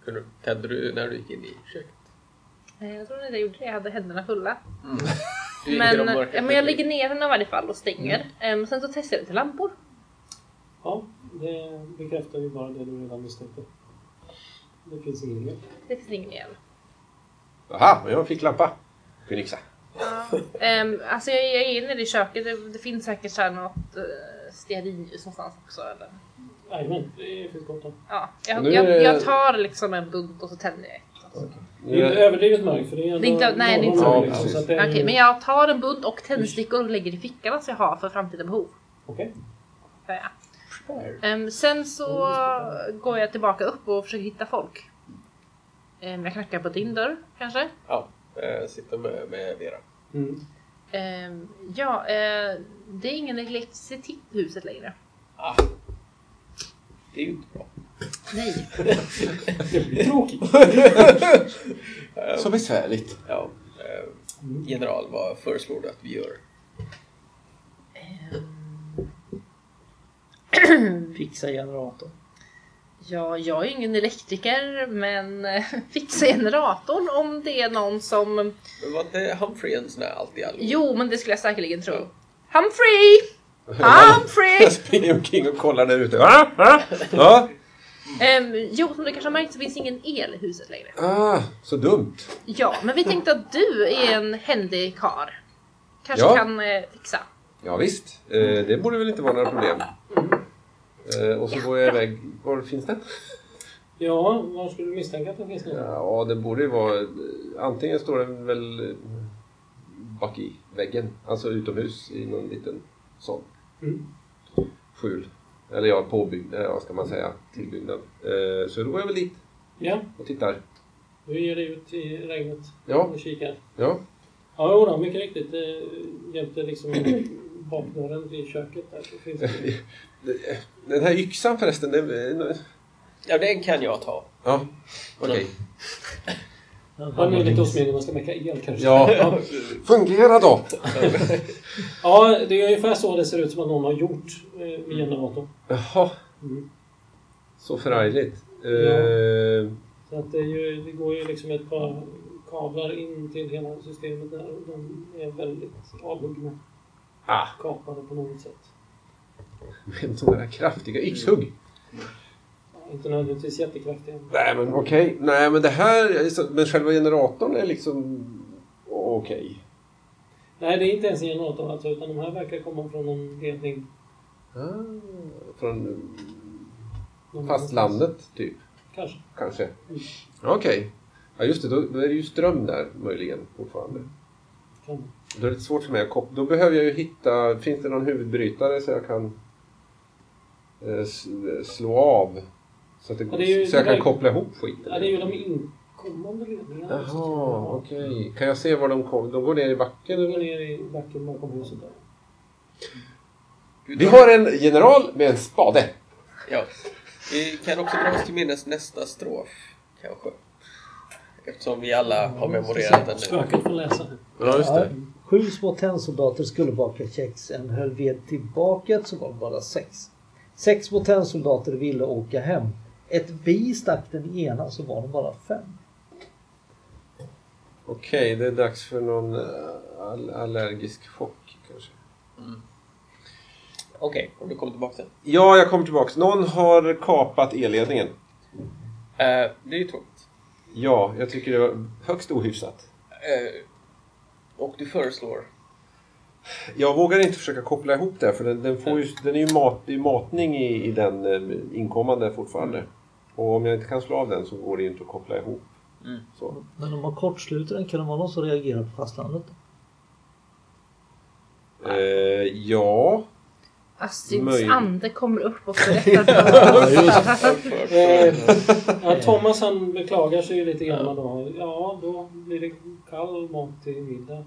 Kunde- Tände du när du gick in i köket? Eh, Jag tror inte jag gjorde det, jag hade händerna fulla. Du gick i de Men, mörka ja, men jag köken. lägger ner den i varje fall och stänger. Ehm, sen så testar jag lite lampor. Ja, det bekräftar ju bara det du redan misstänkte. Det finns ingen el. Det finns ingen el. Aha, men jag fick lampa. Phoenixa. Ehm, alltså jag, jag är nere i köket, det, det finns säkert så här något uh, stearinljus någonstans också. Eller? Jajamän, det finns gott om. Ja, jag, Nu är jag, det- jag tar liksom en bunt och så tänder jag. Det är inte överdrivet mörkt för det är ändå Det är inte- nej, det är inte- morgon, Ja, liksom, precis. så att det är Okej, ju- men jag tar en bunt och tändstickor och lägger i fickan som jag har för framtida behov. Okej. Ja, ja. Ehm, sen så går jag tillbaka upp och försöker hitta folk. Ehm, jag knackar på din dörr kanske. Ja, eh, sitter med, med Vera. Mm. Ehm, ja, eh, det är ingen elektricitet i huset längre. Det är ju inte bra. Nej. Så besvärligt. Ja, eh, general, vad föreslår du att vi gör? Fixa generatorn. Ja, jag är ju ingen elektriker, men eh, fixa generatorn om det är någon som... Men var inte Humphrey en sån här allt i allo? Jo, men det skulle jag säkerligen tro. Humphrey! Humphrey! Jag springer omkring och kollar där ute. Ah, ah, ah. Ehm, jo, som du kanske har märkt så finns ingen el i huset längre. Ah, så dumt. Ja, men vi tänkte att du är en händig karl. Kanske Ja. kan eh, fixa. Ja, visst. Eh, det borde väl inte vara några problem. Eh, och så går jag iväg. Var finns den? Ja, var skulle du misstänka att den finns nu? Ja, det borde ju vara... Antingen står den väl eh, bak i väggen, alltså utomhus i någon liten sån Mm. skjul. Eller ja, påbyggnad, ja, ska man säga, tillbyggnad. Eh, så då går jag väl dit Ja, och tittar. du ger dig ut i regnet Ja, och kikar. ja. Ja, jodå, mycket riktigt. Det hjälpte liksom bakdörren i köket där. Så finns det. Den här yxan förresten, den... Ja, den kan jag ta. Ja, okej. Var det möjligt hos mig när man ska mecka el kanske? Ja, fungera då! Ja, det är ungefär så det ser ut som att någon har gjort eh, vid generatorn. Jaha. Mm. Så förargligt. Eh, Så att det, är ju, det går ju liksom ett par kablar in till hela systemet där och de är väldigt avhuggna. Ah. Kapade på något sätt. Med sådana där kraftiga yxhugg. Inte nödvändigtvis jättekraftiga. Nej men okej. Nej men det här, är så- men själva generatorn är liksom okej. Nej, det är inte ens en generator alltså, utan de här verkar komma från någon ledning. Ah, från någon eh, annanstans. fastlandet typ, Kanske. kanske. Okej. Ja just det, då, då är det ju ström där möjligen fortfarande. Kan. Då är det svårt för mig att koppla. Då behöver jag ju hitta, finns det någon huvudbrytare så jag kan eh, s- slå av? Så, att det, Ja, det är ju- så jag det kan där- koppla ihop skiten? Ja, det är ju de inkommande ledningarna. Jaha, okej. Kan jag se var de kommer? De går ner i backen De går eller? ner i backen bakom huset där. Vi har en general med en spade. Ja. Vi kan också dra oss till minnes nästa strof, kanske. Eftersom vi alla har memorerat den nu. Spöket får läsa. Ja, just Ja, sju små tennsoldater skulle baka kex. En höll ved tillbaka så var det bara sex. Sex små tennsoldater ville åka hem. Ett bi stack den ena så var det bara fem. Okej, det är dags för någon eh, all allergisk chock kanske. Okej, om du kommer tillbaka sen. Ja, jag kommer tillbaks. Någon har kapat elledningen. Eh, det är ju tråkigt. Ja, jag tycker det var högst ohyfsat. Eh, och du föreslår? Jag vågar inte försöka koppla ihop det här, för den, den, får ju, den är ju mat, det är ju matning i, i den eh, inkommande fortfarande. Och om jag inte kan slå av den så går det ju inte att koppla ihop. Mm. Så. Men om man kortsluter den, kan det vara någon som reagerar på fastlandet? Eh, ja, Astrids Möjligt. ande kommer upp och berättar. Eh, Ja, Thomas han beklagar sig ju lite grann då. Ja, då blir det kall mat till middag.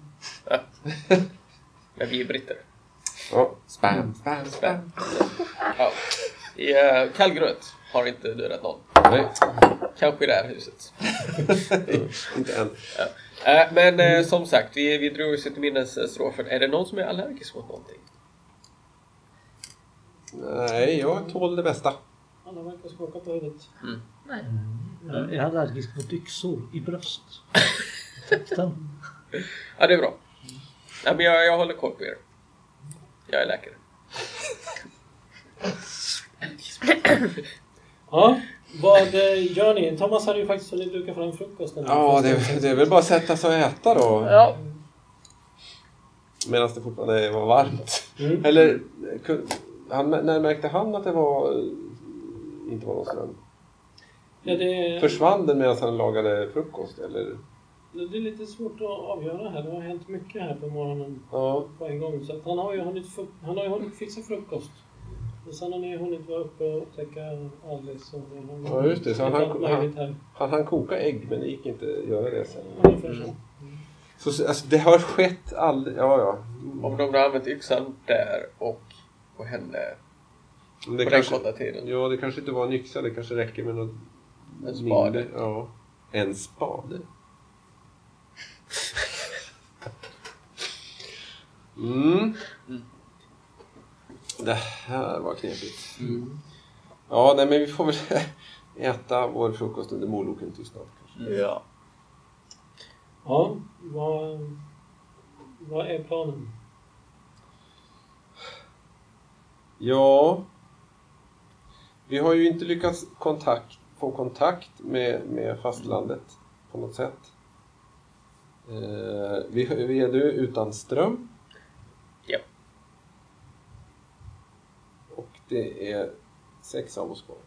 Men vi är britter. ja. Spam, spam, spam. Ja. I, eh, Kallgröt har inte dödat någon. Nej, Kanske i det här huset. inte än. Eh, men eh, som sagt, vi, vi drog oss till minnes eh, strofen. Är det någon som är allergisk mot någonting? Nej, jag tål det bästa. Alla verkar skaka på huvudet. Nej. Jag är allergisk mot yxor i bröst. Den. Ja, det är bra. Ja, men jag, jag håller koll på er. Jag är läkare. Ja, vad eh, gör ni? Thomas hade ju faktiskt hunnit duka fram frukosten. Ja, det är, det är väl bara att sätta sig och äta då. Ja. Medan det fortfarande var varmt. Mm. Eller, kun- han, när märkte han att det var, eh, inte var någon ström? Ja, det, Försvann den medan han lagade frukost? Eller? det är lite svårt att avgöra här. Det har hänt mycket här på morgonen Ja. på en gång. Så att han har ju hunnit, fu- han har ju hunnit fixa frukost. Och sen har ni hunnit vara uppe och upptäcka Alice och det Ja, just det. Så han- allt möjligt här. Han hann koka ägg men det gick inte att göra det sen. Ungefär så. Så alltså, det har skett all... Ja, ja. Om de har använt yxan där och på henne Men på Det den kanske, korta tiden. ja, det kanske inte var en yxa. Det kanske räcker med något En spade. mindre. Ja. En spade. Mm. Det här var knepigt. Mm. Ja, nej, men vi får väl äta vår frukost under moloken tystnad. kanske. Ja. Ja, vad, vad är planen? Ja. Vi har ju inte lyckats kontakt, få kontakt med, med fastlandet på något sätt. Eh, vi, vi är nu utan ström. Ja. Och det är sex av oss kvar.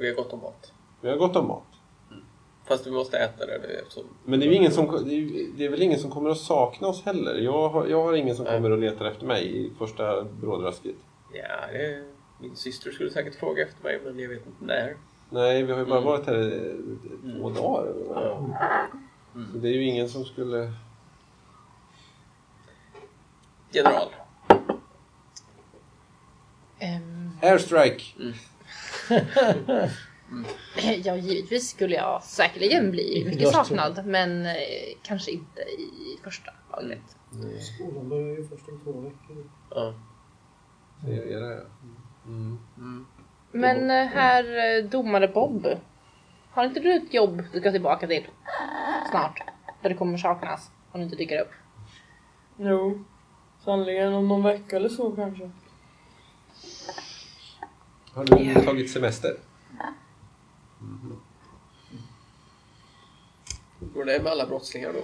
Vi har gott om mat. Vi har gott om mat. Fast vi måste äta det nu eftersom... Men det är, ju ingen som, det är- det är väl ingen som kommer att sakna oss heller? Jag har, jag har ingen som Nej. kommer att leta efter mig i första brådrasket. Ja, det... Min syster skulle säkert fråga efter mig men jag vet inte när. Nej, vi har ju bara Mm. varit här eh, två dagar. Så det är ju ingen som skulle... General. Ehm, Airstrike! ja, givetvis skulle jag säkerligen bli mycket saknad, men eh, kanske inte i första laget. Skolan börjar ju först om två veckor. Ja. Det är Mm. det, ja. Men eh, herr eh, domare Bob, har inte du ett jobb du ska tillbaka till snart? Där du kommer saknas om du inte dyker upp. Jo. Sannoliken om någon vecka eller så kanske. Har du tagit semester? Hur går det med alla brottslingar då?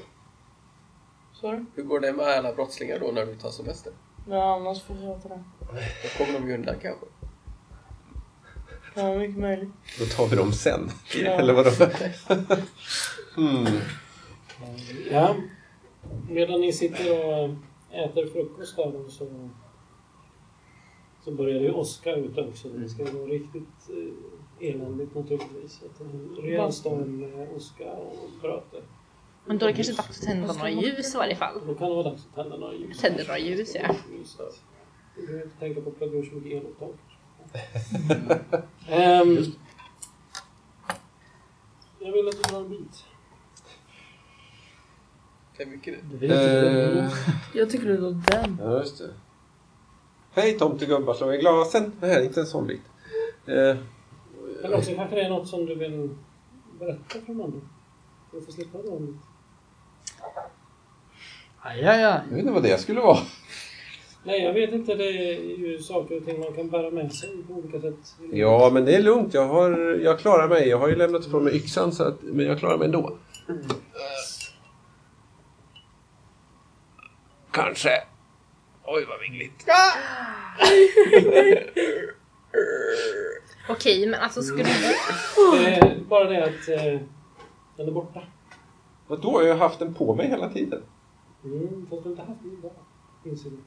Så är det. Hur går det med alla brottslingar då när du tar semester? Ja, annars får jag ta det. Då kommer de ju undan kanske. Ja, mycket möjligt. Då tar vi dem sen. Ja. Eller vadå? mm. Ja, medan ni sitter och äter frukost här då så, så börjar det ju åska ute också. Det ska gå riktigt eh, eländigt naturligtvis. Att En rejäl storm med åska och bråte. Men då är det kanske dags att tända några ljus i varje fall. Då kan det vara dags att tända några ljus. Tända några ljus, ja. Just det. Du behöver inte tänka på att plugga ur så mycket eluttag. Ehm, jag vill att du drar en bit. Det är mycket det. Eh, Jag tycker du tar den. ja, just det. Hej tomtegubbar, slå i glasen! Nej, inte en sån bit. Eh, Eller också kanske det är något som du vill berätta för någon. Du får slippa dra en bit. Aj, aj, aj. jag vet inte vad det skulle vara. Nej, jag vet inte. Det är ju saker och ting man kan bära med sig på olika sätt. Ja, men det är lugnt. Jag, har, jag klarar mig. Jag har ju lämnat ifrån mig yxan, så att, Eh, men jag klarar mig ändå. Kanske. Oj, vad vingligt. Okej, men alltså skulle du... Eh, bara det att eh, den är borta. Vadå? Jag har ju haft den på mig hela tiden. Mm, fast du har inte haft den idag. Inser du.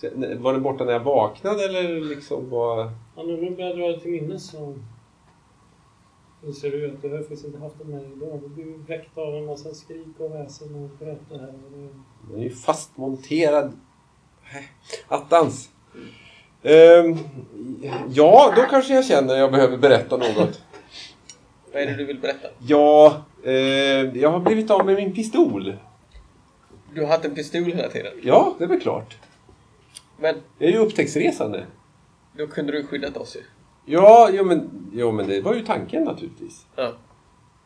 Så, n- Var den borta när jag vaknade eller liksom bara... Ja, nu när du börjar dra det till minnes så inser du att du har faktiskt inte haft den med dig idag. Du blir väckt av en massa skrik och väsen och sköter här. Och det... Den är ju fastmonterad. Nej, Attans. Ehm, ja, då kanske jag känner att jag behöver berätta något. Vad är det du vill berätta? Ja, eh, jag har blivit av med min pistol. Du har haft en pistol hela tiden. Ja, det är väl klart. Men Jag är ju upptäcktsresande. då kunde du skyddat oss ju. Ja, jo men, jo, men det var ju tanken naturligtvis. Ja.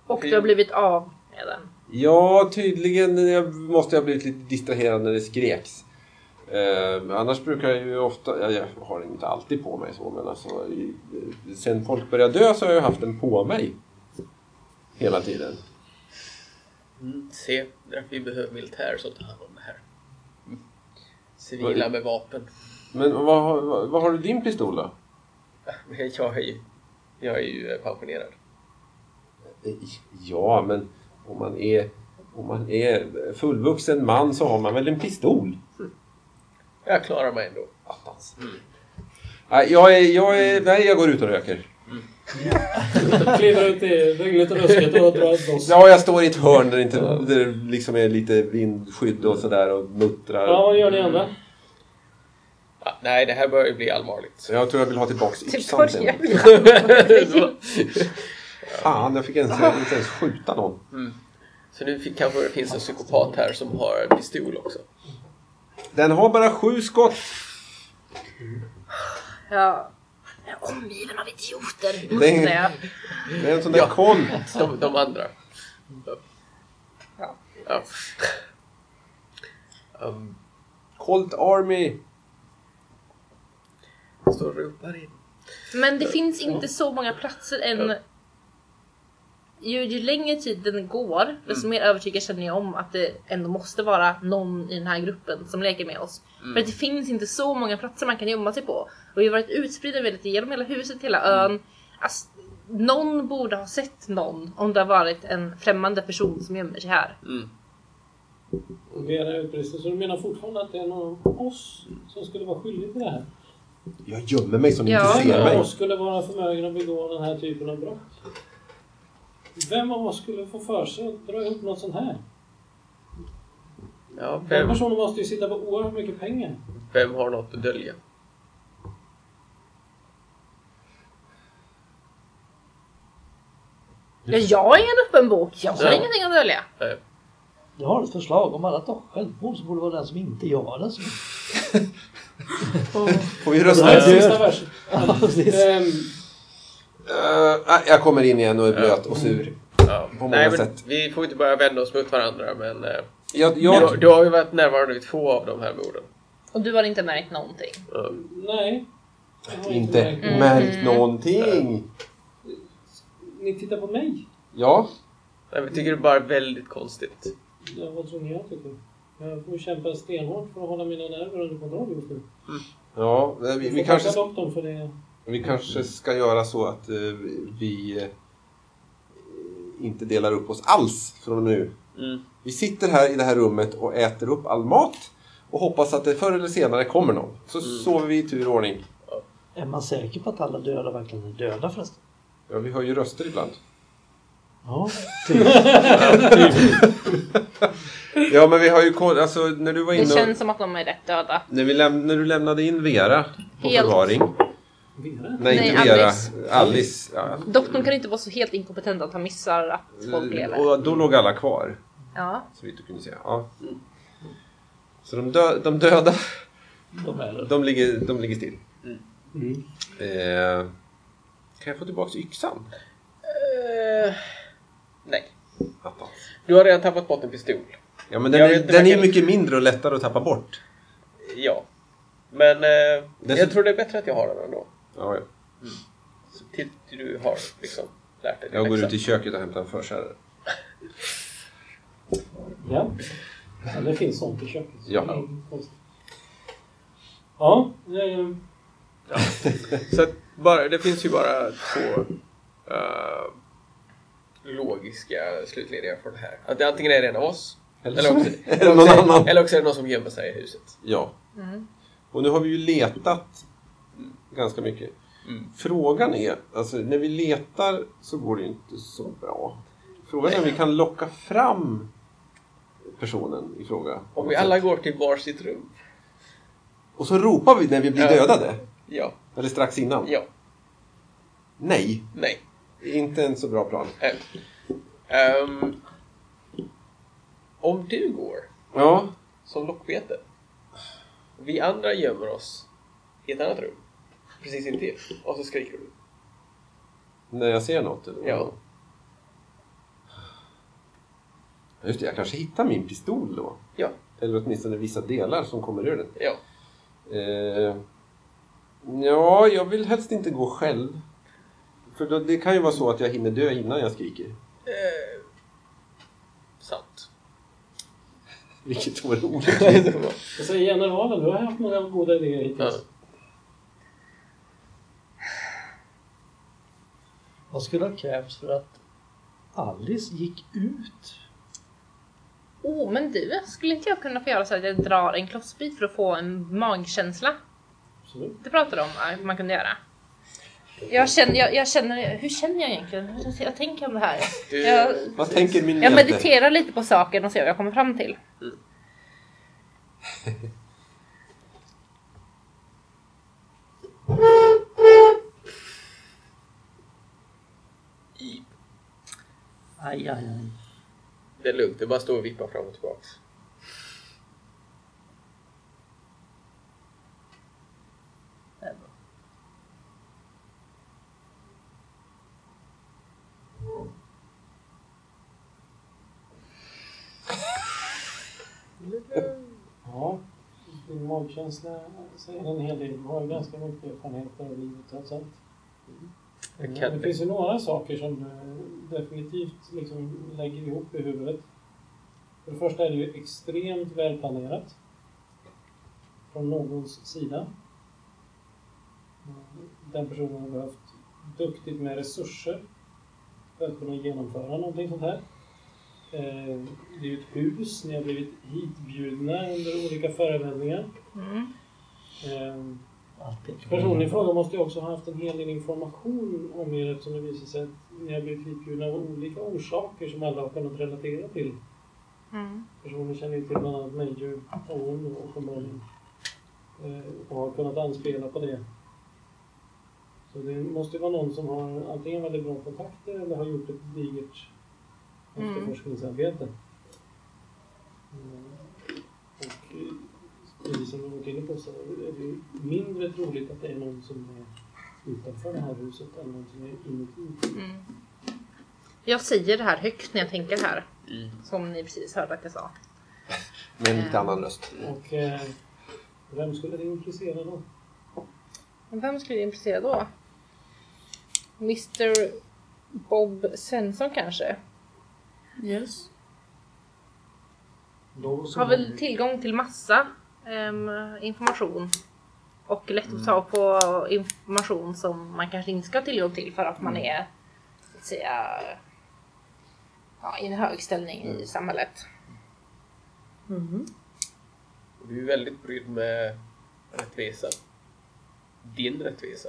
Och du har blivit av med den. Ja, tydligen jag måste jag ha blivit lite distraherad när det skreks. Eh, annars brukar jag ju ofta, ja, jag har den inte alltid på mig så, men alltså, i- eh, sen folk började dö så har jag ju haft den på mig. Hela tiden. Mm, se, därför vi behöver militär som tar hand om det här. Mm. Civila med vapen. Men vad, har- vad, vad har du din pistol då? Men Jag är ju, jag är ju eh, pensionerad. Eh, Ja, men om man är, om man är fullvuxen man så har man väl en pistol? Jag klarar mig ändå. Attans. Nej, jag, är, jag, är, nej, jag går ut och röker. Kliver ut i regnet och rusket och drar ett loss. Ja, jag står i ett hörn där det, inte, där det liksom är lite vindskydd och sådär och muttrar. Ja, vad gör ni andra? Ja, Ah, nej, det här börjar ju bli allvarligt. Så jag tror jag vill ha tillbaks Typ yxan sen. börjar vi- Fan, jag fick ens, jag fick inte ens skjuta någon. Så nu fick, kanske det finns en psykopat här som har en pistol också. Den har bara sju skott. Ja. Jag är omgiven av idioter. Det är- Måste jag. Det är en sån där kolt. De, de andra. Ja. Ja. Um, Colt Army. står och ropar in. Men det finns inte så många platser än. Ju, ju längre tiden går, desto mer övertygad känner jag om att det ändå måste vara någon i den här gruppen som leker med oss. För att det finns inte så många platser man kan gömma sig på. Och vi har varit utspridda väldigt genom hela huset, hela ön. Alltså, någon borde ha sett någon om det har varit en främmande person som gömmer sig här. Vi är utbrister, så du menar fortfarande att det är någon av oss som skulle vara skyldig till det här? Jag gömmer mig så ni Ja. inte ser Vem av mig. oss skulle vara förmögen att begå den här typen av brott? Vem av oss skulle få för sig att dra ihop något sånt här? Ja, Den vem, personen måste ju sitta på oerhört mycket pengar. vem har något att dölja? Ja, jag är en öppen bok, jag har Ja. ingenting att dölja. Jag har ett förslag. Om alla tar självmord så borde det vara den som inte gör det. som- Får vi Det rösta? här är Ja, det- sista versen. Ja, precis. Ehm, Eh, nej, jag kommer in igen och är blöt och sur. Ja. På många Nej, men sätt. Vi får inte börja vända oss mot varandra, men eh, Jag, du, jag, du har ju varit närvarande vid två av de här Um, morden. Och du har inte märkt någonting. nej. Jag har inte märkt. märkt någonting. Ni tittar på mig. Ja, Nej, vi tycker det bara är väldigt konstigt. Ja, vad tror ni jag tycker? Jag får kämpa stenhårt för att hålla mina nerver under kontroll just nu. ja men vi, Jag vi får kanske... tacka doktorn för det. Vi kanske ska göra så att eh, vi eh, inte delar upp oss alls från nu. Mm. Vi sitter här i det här rummet och äter upp all mat och hoppas att det förr eller senare kommer någon. Så sover vi i tur och ordning. Är man säker på att alla döda verkligen är döda förresten? Ja, vi hör ju röster ibland. Ja. Ja, men vi har ju koll. Alltså, när du var Det inne känns och, som att de är rätt döda. när, vi läm- när du lämnade in Vera på Helt. förvaring. Vera? Nej, Nej, inte Vera. Alice. Alice. Ja. Doktorn kan inte vara så helt inkompetent att han missar att folk lever. Mm, Och då låg alla kvar. Ja. Så vitt du kunde se. Ja. Så de, dö- de döda, De är de ligger, de ligger still. Mm. Eh, kan jag få tillbaka yxan? Eh, nej. Attans. Du har redan tappat bort en pistol. Ja, men den, Jag är, vet inte, den är man ju kan- mycket mindre och lättare att tappa bort. Ja. Men eh, Dessut- jag tror det är bättre att jag har den ändå. Ja, ja. Tills du har liksom. lärt dig Jag går ut i köket och hämtar en försäljare. Ja. ja, det finns sånt i köket. Ja. Det är inget konstigt. Ja, eh, Så att bara, det finns ju bara två eh, logiska slutledningar från det här. Att det antingen är en av oss, eller, också, eller, någon också, är- annan. eller också är det någon som gömmer sig i huset. Ja. Mm. Och nu har vi ju letat ganska mycket. Mm. Frågan är, alltså när vi letar så går det ju inte så bra. Frågan är om vi kan locka fram personen i fråga. Om vi alla går till varsitt rum. Och så ropar vi när vi blir Ja. dödade. Ja, Eller strax innan. ja, Nej, nej. inte en så bra plan. nej. Ehm, om du går Ja, som lockbete. Vi andra gömmer oss i ett annat rum. Precis intill. Och så skriker du. när jag ser något. Eller? Ja. Just det, jag kanske hittar min pistol då. Ja, Eller åtminstone vissa delar som kommer ur den. ja. Eh, ja, jag vill helst inte gå själv. För då, det kan ju vara så att jag hinner dö innan jag skriker. Eh, sant. Vilket vore olyckligt. jag säger generalen, du har haft många goda idéer Ja. hittills. Vad skulle ha krävts för att Alice gick ut? Oh, men du, skulle inte jag kunna få göra så att jag drar en klossbit för att få en magkänsla? Absolut. Det pratade de om att man kunde göra. Jag känner, jag, jag känner, hur känner jag egentligen? Hur- Jag tänker om det här. Du, Jag, Vad tänker min jag hjälte? mediterar lite på saken och ser vad jag kommer fram till. Aj, aj, aj. Det är lugnt, det är bara att stå och vippa fram och tillbaka. Ja, din magkänsla säger en hel del. Du har ju ganska mycket erfarenheter av livet trots allt. Jag Men kan Det finns ju några saker som du definitivt liksom lägger ihop i huvudet. För det första är det ju extremt välplanerat. Från någons sida. Den personen har behövt duktigt med resurser för att kunna genomföra någonting sånt här. Eh, Det är ju ett hus, ni har blivit hitbjudna under olika förevändningar. Mm. Eh, Allt pekar på Personen i det. fråga måste ju också ha haft en hel del information om er eftersom det visar sig att ni har blivit hitbjudna av olika orsaker som alla har kunnat relatera till. Mm. Personen känner ju till bland annat Major Owen och uppenbarligen. Eh, Och har kunnat anspela på det. Så det måste ju vara någon som har antingen väldigt bra kontakter eller har gjort ett digert Mm. efterforskningsarbete. Mm. Och eh, precis som vi varit inne på så är det ju mindre troligt att det är någon som är utanför det här huset än någon som är inuti. Mm. Jag säger det här högt när jag tänker här. Mm. Som ni precis hörde att jag sa. Med en lite annan röst. Och eh, vem skulle det intressera då? Men vem skulle det intressera då? Mr Bob Svensson kanske? Yes. Någon som Har väl tillgång till massa ehm, information. Och lätt Mm. att ta på information som man kanske inte ska ha tillgång till för att man Mm. är så att säga, ja, i en hög ställning Mm. i samhället. Mhm. Du är väldigt brydd med rättvisa. Din rättvisa.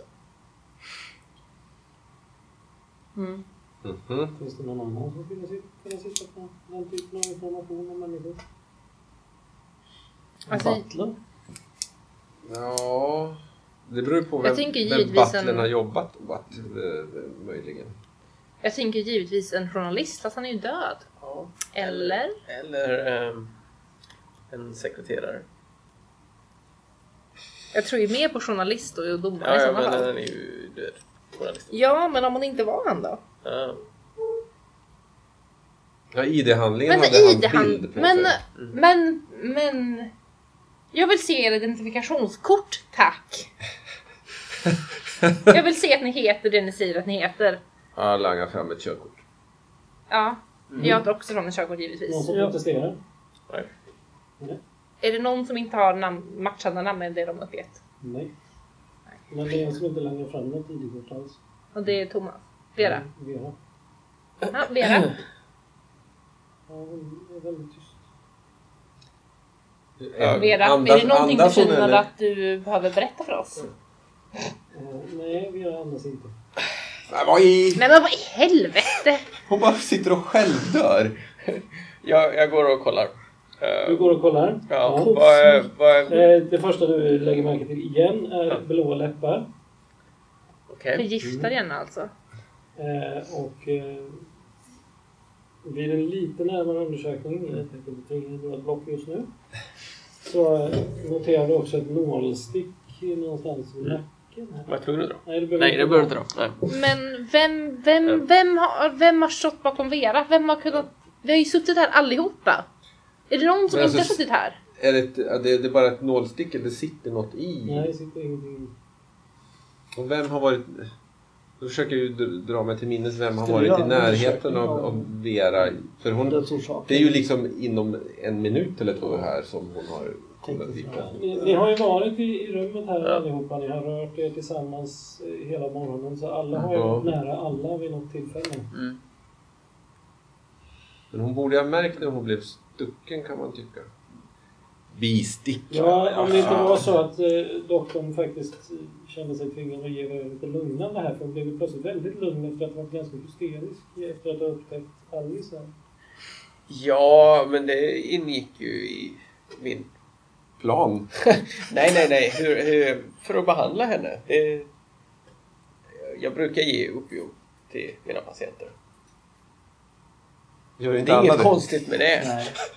Mm. Mhm. Finns det någon annan som skulle sit- kunna sitta på den typen av information om människor? Alltså, Butler? Ja, det beror på vem, Jag tänker vem givetvis butlern en- har jobbat åt. eh, Möjligen. jag tänker givetvis en journalist, fast han är ju död. Ja. Eller? Eller ehm, en sekreterare. Jag tror ju mer på journalist och domare Ja, i ja sådana men eh, fall. han är ju död. Journalisten. Ja, men om hon inte var han då? Ja. Ja, ID-handlingen Men hade ID han han... bild på Men, sig. men, men... Jag vill se er identifikationskort, tack! Jag vill se att ni heter det ni säger att ni heter. Ja, langar fram ett körkort. Ja, jag tar också någon körkort givetvis. Någon som protesterar? Är det någon som inte har namn, matchande namn eller det de uppgett? Nej. Men det är en som inte langar fram något ID-kort alls. Och det är Thomas. Vera. Vera. Ja, Vera. Ja, hon är väldigt tyst. Vera, är det någonting du känner att du behöver berätta för oss? Eh, Nej, Vera andas inte. Nej, vad i... Nej men vad i helvete! Hon bara sitter och självdör. Jag, jag går och kollar. Eh, Du går och kollar. ja, vad, eh, vad, Eh, Det första du lägger märke till igen är blåa läppar okej. Förgiftar igen alltså. Eh, och eh, vid en lite närmare undersökning, jag tänker inte tvinga dig att block just nu, så eh, noterar du också ett nålstick någonstans vid nacken. Här. Var jag tvungen att dra? Nej, det Mm. Nej, det behöver du inte dra. Nej. Men vem, vem, vem, har, vem har stått bakom Vera? Vem har kunnat... Vi har ju suttit här allihopa. Är det någon som Men inte har alltså, suttit här? Är det, ett, ja, det, det är bara ett nålstick eller sitter något i? Nej, det sitter ingenting. Och vem har varit... Då försöker jag ju dr- dra mig till minnes vem har Skulle varit göra i en närheten undersökning av, av- av Vera. För hon, Dödsorsaken. det är ju liksom inom en minut eller två här som hon har kommit dit. Ni, ni har ju varit i, i rummet här allihopa. Ni har rört er tillsammans eh, hela morgonen. Så alla har ju Ja. varit nära alla vid något tillfälle. Men hon borde ju ha märkt när hon blev stucken kan man tycka. Bistick. Ja, om det inte var så att eh, doktorn faktiskt eh, kände sig tvingad att ge dig lite lugnande här. För hon blev ju plötsligt väldigt lugn efter att ha varit ganska hysterisk efter att ha upptäckt Alice här. Ja, men det ingick ju i min... Plan. Nej, nej, nej. Hur, hur, för att behandla henne. Det, jag brukar ge Upio till mina patienter. Gör Det är alla inget konstigt med det.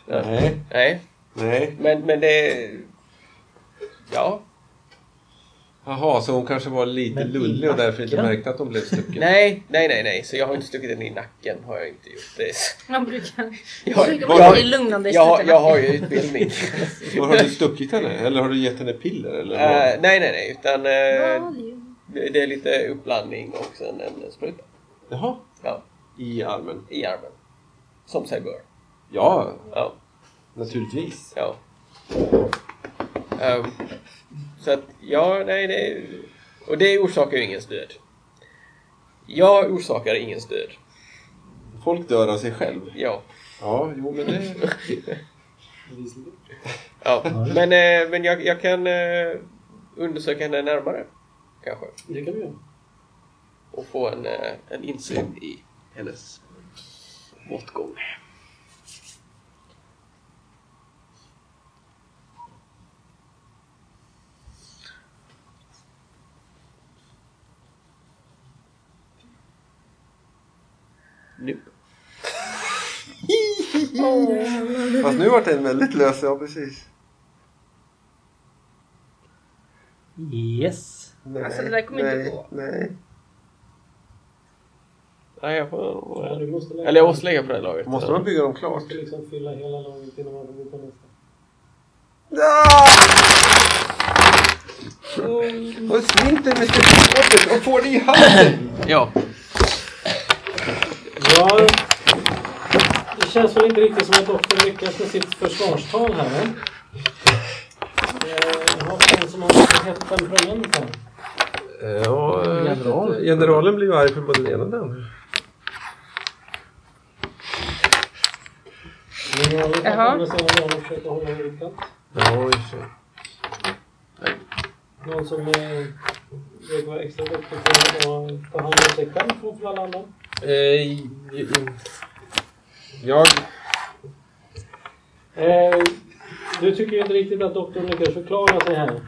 Nej. Nej. Nej, Nej. men, men det... Ja. Jaha, så hon kanske var lite Men i lullig och därför inte nacken? märkte att hon blev stucken. Nej, nej, nej, nej. Så jag har inte stuckit den i nacken. har jag inte gjort. Det är, Man brukar... jag, Jag, jag, vara lite jag, lugnande i jag, jag, har ju utbildning. Var har du stuckit henne? Eller har du gett henne piller? Eller Eh, vad? nej, nej, nej. Utan eh, det är lite uppblandning och sen en spruta Jaha. ja, I armen? i armen. Som sig bör. Ja, Ja. naturligtvis. Ja. Ehm, så att, ja, nej, det är, Och det orsakar ju ingens död. Jag orsakar ingens död. Folk dör av sig själv. Ja. Ja, jo men det... ja. Men, eh, men jag, jag kan eh, undersöka henne närmare. Kanske. Det kan du göra. Och få en, eh, en insyn i hennes bortgång. Nu. Fast nu vart den väldigt lös, ja precis. Yes. Nej, Alltså, det där kommer inte gå. Nej. Nej, jag får... Ja, du måste lägga, Eller jag måste lägga på det här laget. Måste man bygga dem klart? måste liksom fylla hela laget innan man kommer på nästa. Och slinter med stupskåpet och får det i handen! Ja. Ja, det känns väl inte riktigt som att doktorn lyckas med sitt försvarstal här. va? Eh, Jag har fan som om han skulle hetta liksom. en prominent här. Ja, generalen blir ju arg för både den ena och den andra. Men jag har Jaha. alla sina dagar försökt hålla mig i kant. Ja, i och för sig. Någon som eh, vill vara extra duktig på att ta hand om sig själv framför alla andra. Eh, Jag... Eh, du tycker ju inte riktigt att doktorn lyckas förklara sig här.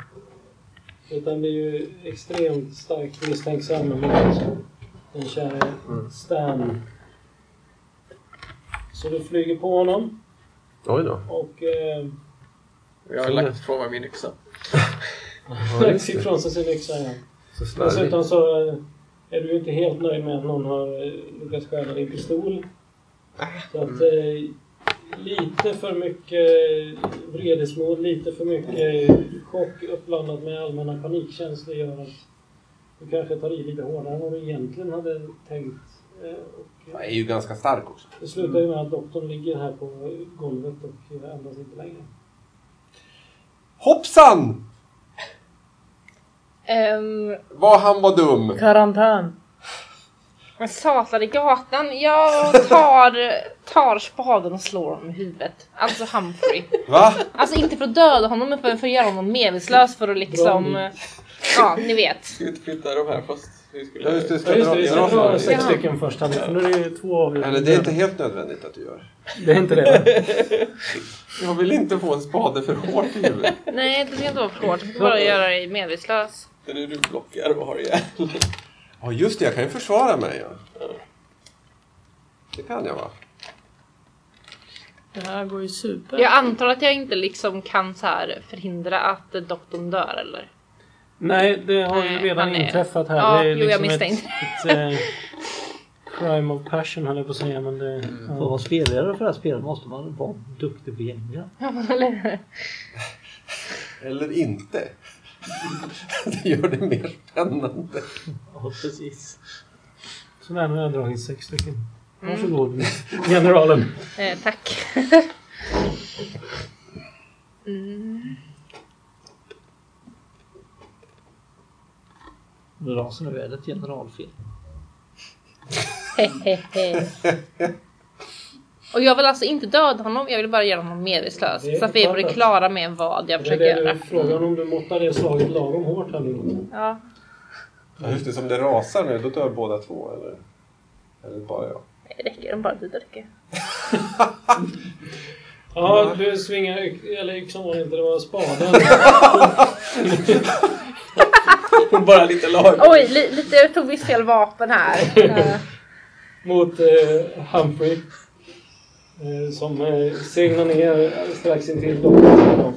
Utan blir ju extremt starkt misstänksam mot den käre Mm. Stan. Så du flyger på honom Oj då. och eh, Jag har lagt ifrån mig min yxa. lagt ifrån sig sin yxa igen. Så slarvigt. Dessutom så eh, är du ju inte helt nöjd med att någon har eh, lyckats stjäla din pistol. Så att eh, lite för mycket vredesmod, lite för mycket chock uppblandat med allmänna panikkänslor gör att Du kanske tar i lite hårdare än vad du egentligen hade tänkt. Eh, Och Jag är ju ganska stark också. det slutar ju med att doktorn ligger här på golvet och eh, andas inte längre. Hoppsan! Ehm, Vad han var dum! Karantän. men satan i gatan. Jag tar, tar spaden och slår honom i huvudet. Alltså Humphrey. Va? Alltså inte för att döda honom men för, för att göra honom medvetslös för att liksom... eh, Ja, ni vet. Ska vi inte flytta de här fast vi Ja, just det, skulle... ska Ja, just det, vi ska dra, dra dra sex Ja. stycken först här nu, för nu är det ju två av Eller det är inte helt nödvändigt att du gör. det är inte det. Jag vill inte få en spade för hårt i huvudet. Nej, det ska inte vara för hårt. Jag ska bara göra dig medvetslös. Det är det du blockar och har ihjäl. Ja just det, jag kan ju försvara mig. Ja. Det kan jag va? Det här går ju super. Jag antar att jag inte liksom kan så här förhindra att eh, doktorn dör eller? Nej, det har ju Nej, redan han är- inträffat här. Ja, det är jo, jag ett, misstänkte. ett eh, crime of passion höll jag på att säga, men det... Mm, För att vara spelledare för det här spelet måste man vara duktig på gänga. Eller inte. Det gör det mer spännande. Ja, precis. Så där, nu har jag dragit sex stycken. Mm. Varsågod, generalen. Eh, tack. mm. Nu rasar nu är det ett generalfel. Hehehe. Och jag vill alltså inte döda honom, jag vill bara göra honom medvetslös. Det är Så att vi är på det fattat. klara med vad jag Det är försöker det göra. du- frågan om du måttar det slaget lagom hårt här nu. Ja. Ja, just det, som det rasar nu, då dör båda två eller? Eller bara jag? Det räcker, om bara du dricker. Ja, du svingar yx... Eller yxan var det inte, det var spaden. Bara lite lag. Oj, li- lite, jag tog visst fel vapen här. Eh, mot eh, Humphrey. Eh, som eh, seglar ner strax intill doktorn.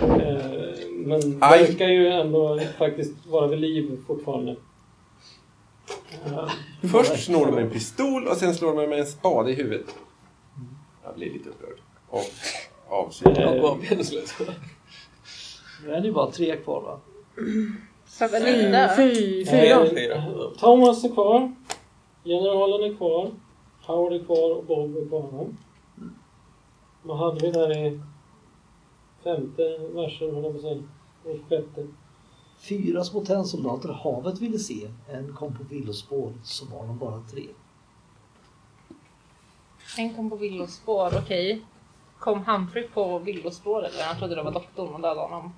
Eh, men Aj. verkar ju ändå faktiskt vara vid liv fortfarande. Eh, Först snor de en pistol och sen slår de mig med en spade i huvudet. Jag blir lite upprörd. Och avskyr. Eh, Jag var meningslös. Nu är det ju bara tre kvar va? så att Fy, Linda... fy, fyra. eh, Thomas är kvar. Generalen är kvar. Howard är kvar och Bob är kvar. va? Vad hade vi där i femte versen, höll jag på att säga. Och sjätte. Fyra små tennsoldater havet ville se. En kom på villospår, så var de bara tre. En kom på villospår, okej. Kom Humphrey på villospår eller? Han trodde det var doktorn och dödade honom.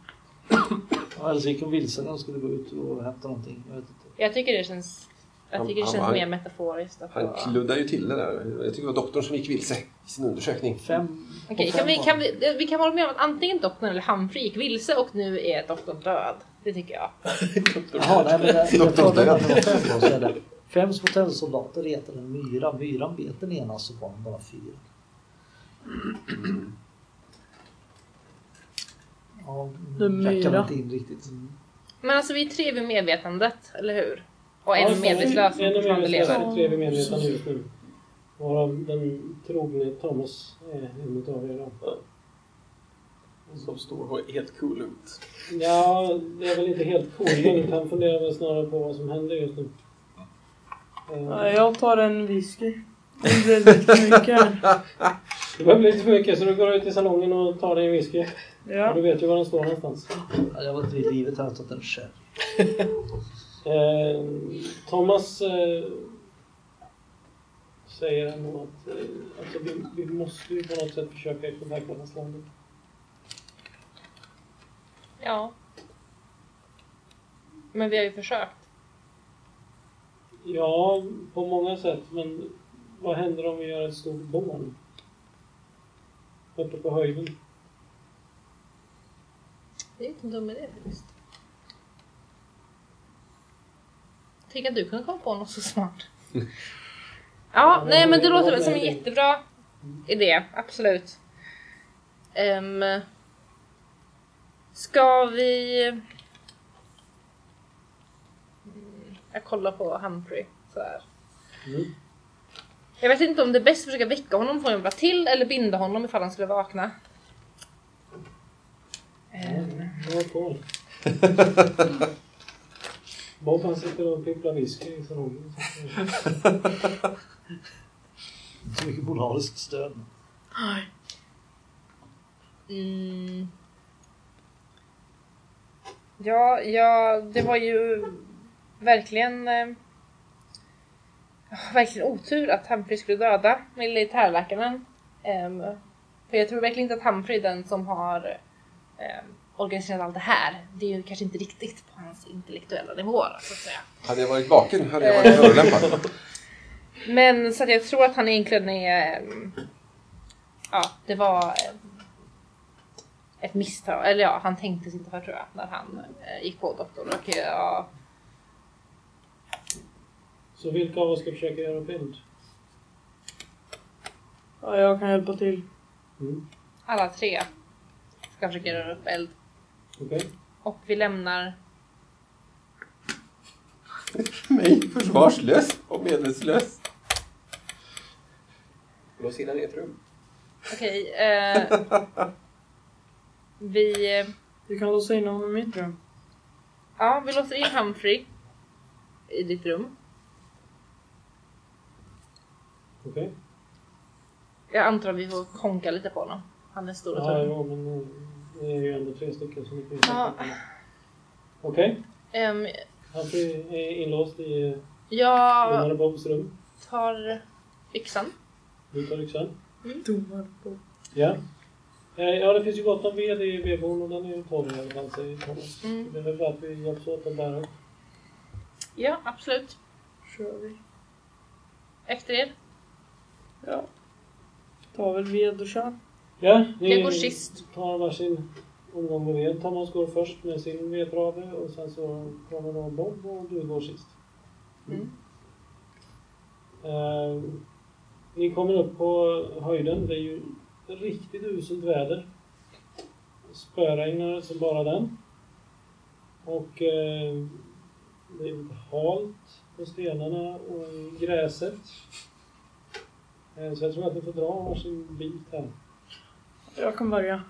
Ja, Eller så gick de vilse när de skulle gå ut och hämta någonting. Jag vet inte. Jag tycker det känns... Jag Han- tycker det han- känns han- mer metaforiskt. att Han vara- kluddar ju till det där. Jag tycker det var doktorn som gick vilse i sin undersökning. Fem. på Okej, fem kan vi, var kan vi, eh, vi kan hålla med om att antingen doktorn eller Humphrey gick vilse och nu är doktorn död. Det tycker jag. det. Jaha, nej men jag, jag Doktor trodde Död. att det var fem då, så är det. Fem små tennsoldater retade en myra. Myran bet den ena, så var de bara fyra. Ja, Den jag myra. kan inte in riktigt. Men alltså vi är tre vid medvetandet, eller hur? Ja, Och en så- medvetslös Alltså, som En är fortfarande medvetslös lever. och tre är medvetna just nu. Varav den trogne Thomas är en utav er då. Som står och är helt cool ut. Ja, det är väl inte helt coolt. Han funderar väl snarare på vad som händer just nu. Ja, Eh, Jag tar en whisky. Det blir lite mycket. här. Det börjar bli lite för mycket så du går ut i salongen och tar dig en whisky. Och Ja. Du vet ju var den står någonstans. Ja, Jag var inte vid livet, jag hade tagit en själv. Eh, Thomas eh, säger ändå att eh, alltså, vi, vi måste ju på något sätt försöka kontakta fastlandet. Ja. Men vi har ju försökt. Ja, på många sätt. Men vad händer om vi gör ett stort bål? Uppe på höjden. Det är inte en dum idé faktiskt. Tänk att du kunde komma på något så smart. ja, nej men det låter väl som en jättebra idé, absolut. Um, ska vi... Mm, Jag kollar på Humphrey så här. Mm. Jag vet inte om det är bäst att försöka väcka honom, få honom till eller binda honom ifall han skulle vakna. Ehm, Ja, cool. Bob han sitter och pipplar whisky i salongen. Så mycket moraliskt stöd. Aj. Mm. Ja, ja, det var ju verkligen eh, verkligen otur att Humphrey skulle döda militärläkaren. Ehm, för jag tror verkligen inte att Humphrey är den som har ehm, organiserat allt det här. Det är ju kanske inte riktigt på hans intellektuella nivå så att säga. Hade jag varit vaken hade jag varit förolämpad. Men så att jag tror att han egentligen är... ehm, Ja, det var ehm, ett misstag. Eller ja, han tänkte sig inte för tror jag när han eh, gick på doktorn. Och ja, Så vilka av oss ska försöka göra pynt? Ja, jag kan hjälpa till. Mm. alla tre ska försöka röra upp eld. Okej? Och vi lämnar... Mig försvarslös och medelslös. Lås in henne i ett rum. Okej. eh, vi... eh, Du kan låsa in honom i mitt rum. Ja, vi låser in Humphrey i ditt rum. Okej. Jag antar att vi får konka lite på honom. Han är stor och Ja, tung. ja, men eh, det är ju ändå tre stycken så ni kan ju Ja. säkert- Okej. Ehm, Han är inlåst i eh, jag domare Bobs rum. tar yxan. Du tar yxan. Domar på. Ja. Eh, Ja, det finns ju gott om ved i vedboden och den är ju torr i alla fall, säger Thomas. Mm. Det är väl bra att vi hjälps åt att bära upp. Ja, absolut. Kör vi. Efter er. Ja. Ta väl ved och kör. Ja, ni Jag går sist. tar varsin omgång med ved. Thomas går först med sin vedrave och sen så kommer då Bob och du går sist. Mm. Eh, ni kommer upp på höjden. Det är ju riktigt uselt väder. Spöregnar som bara den. Och eh, det är halt på stenarna och i gräset. Eh, så jag tror att ni får dra varsin bit här. Jag kan börja.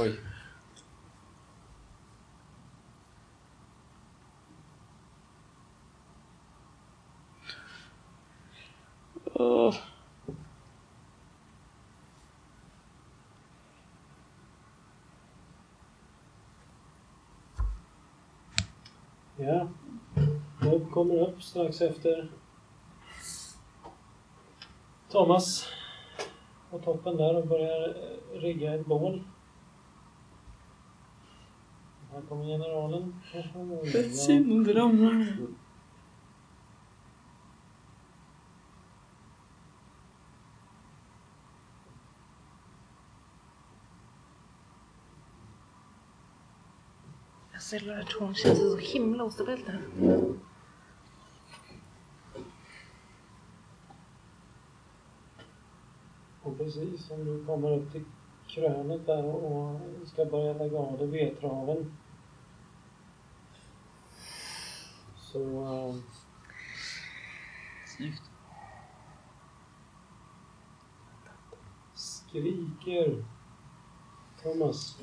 Oj. Åh. Ja. Bob kommer upp strax efter Thomas på toppen där och börjar eh, rigga ett bål. Här kommer generalen. Ett synd ramlar. Alltså hela den här ton känns så himla ostabilt här. Och precis som du kommer upp till krönet där och ska börja lägga av dig vedtraven. Så... eh, Snyggt. skriker Thomas.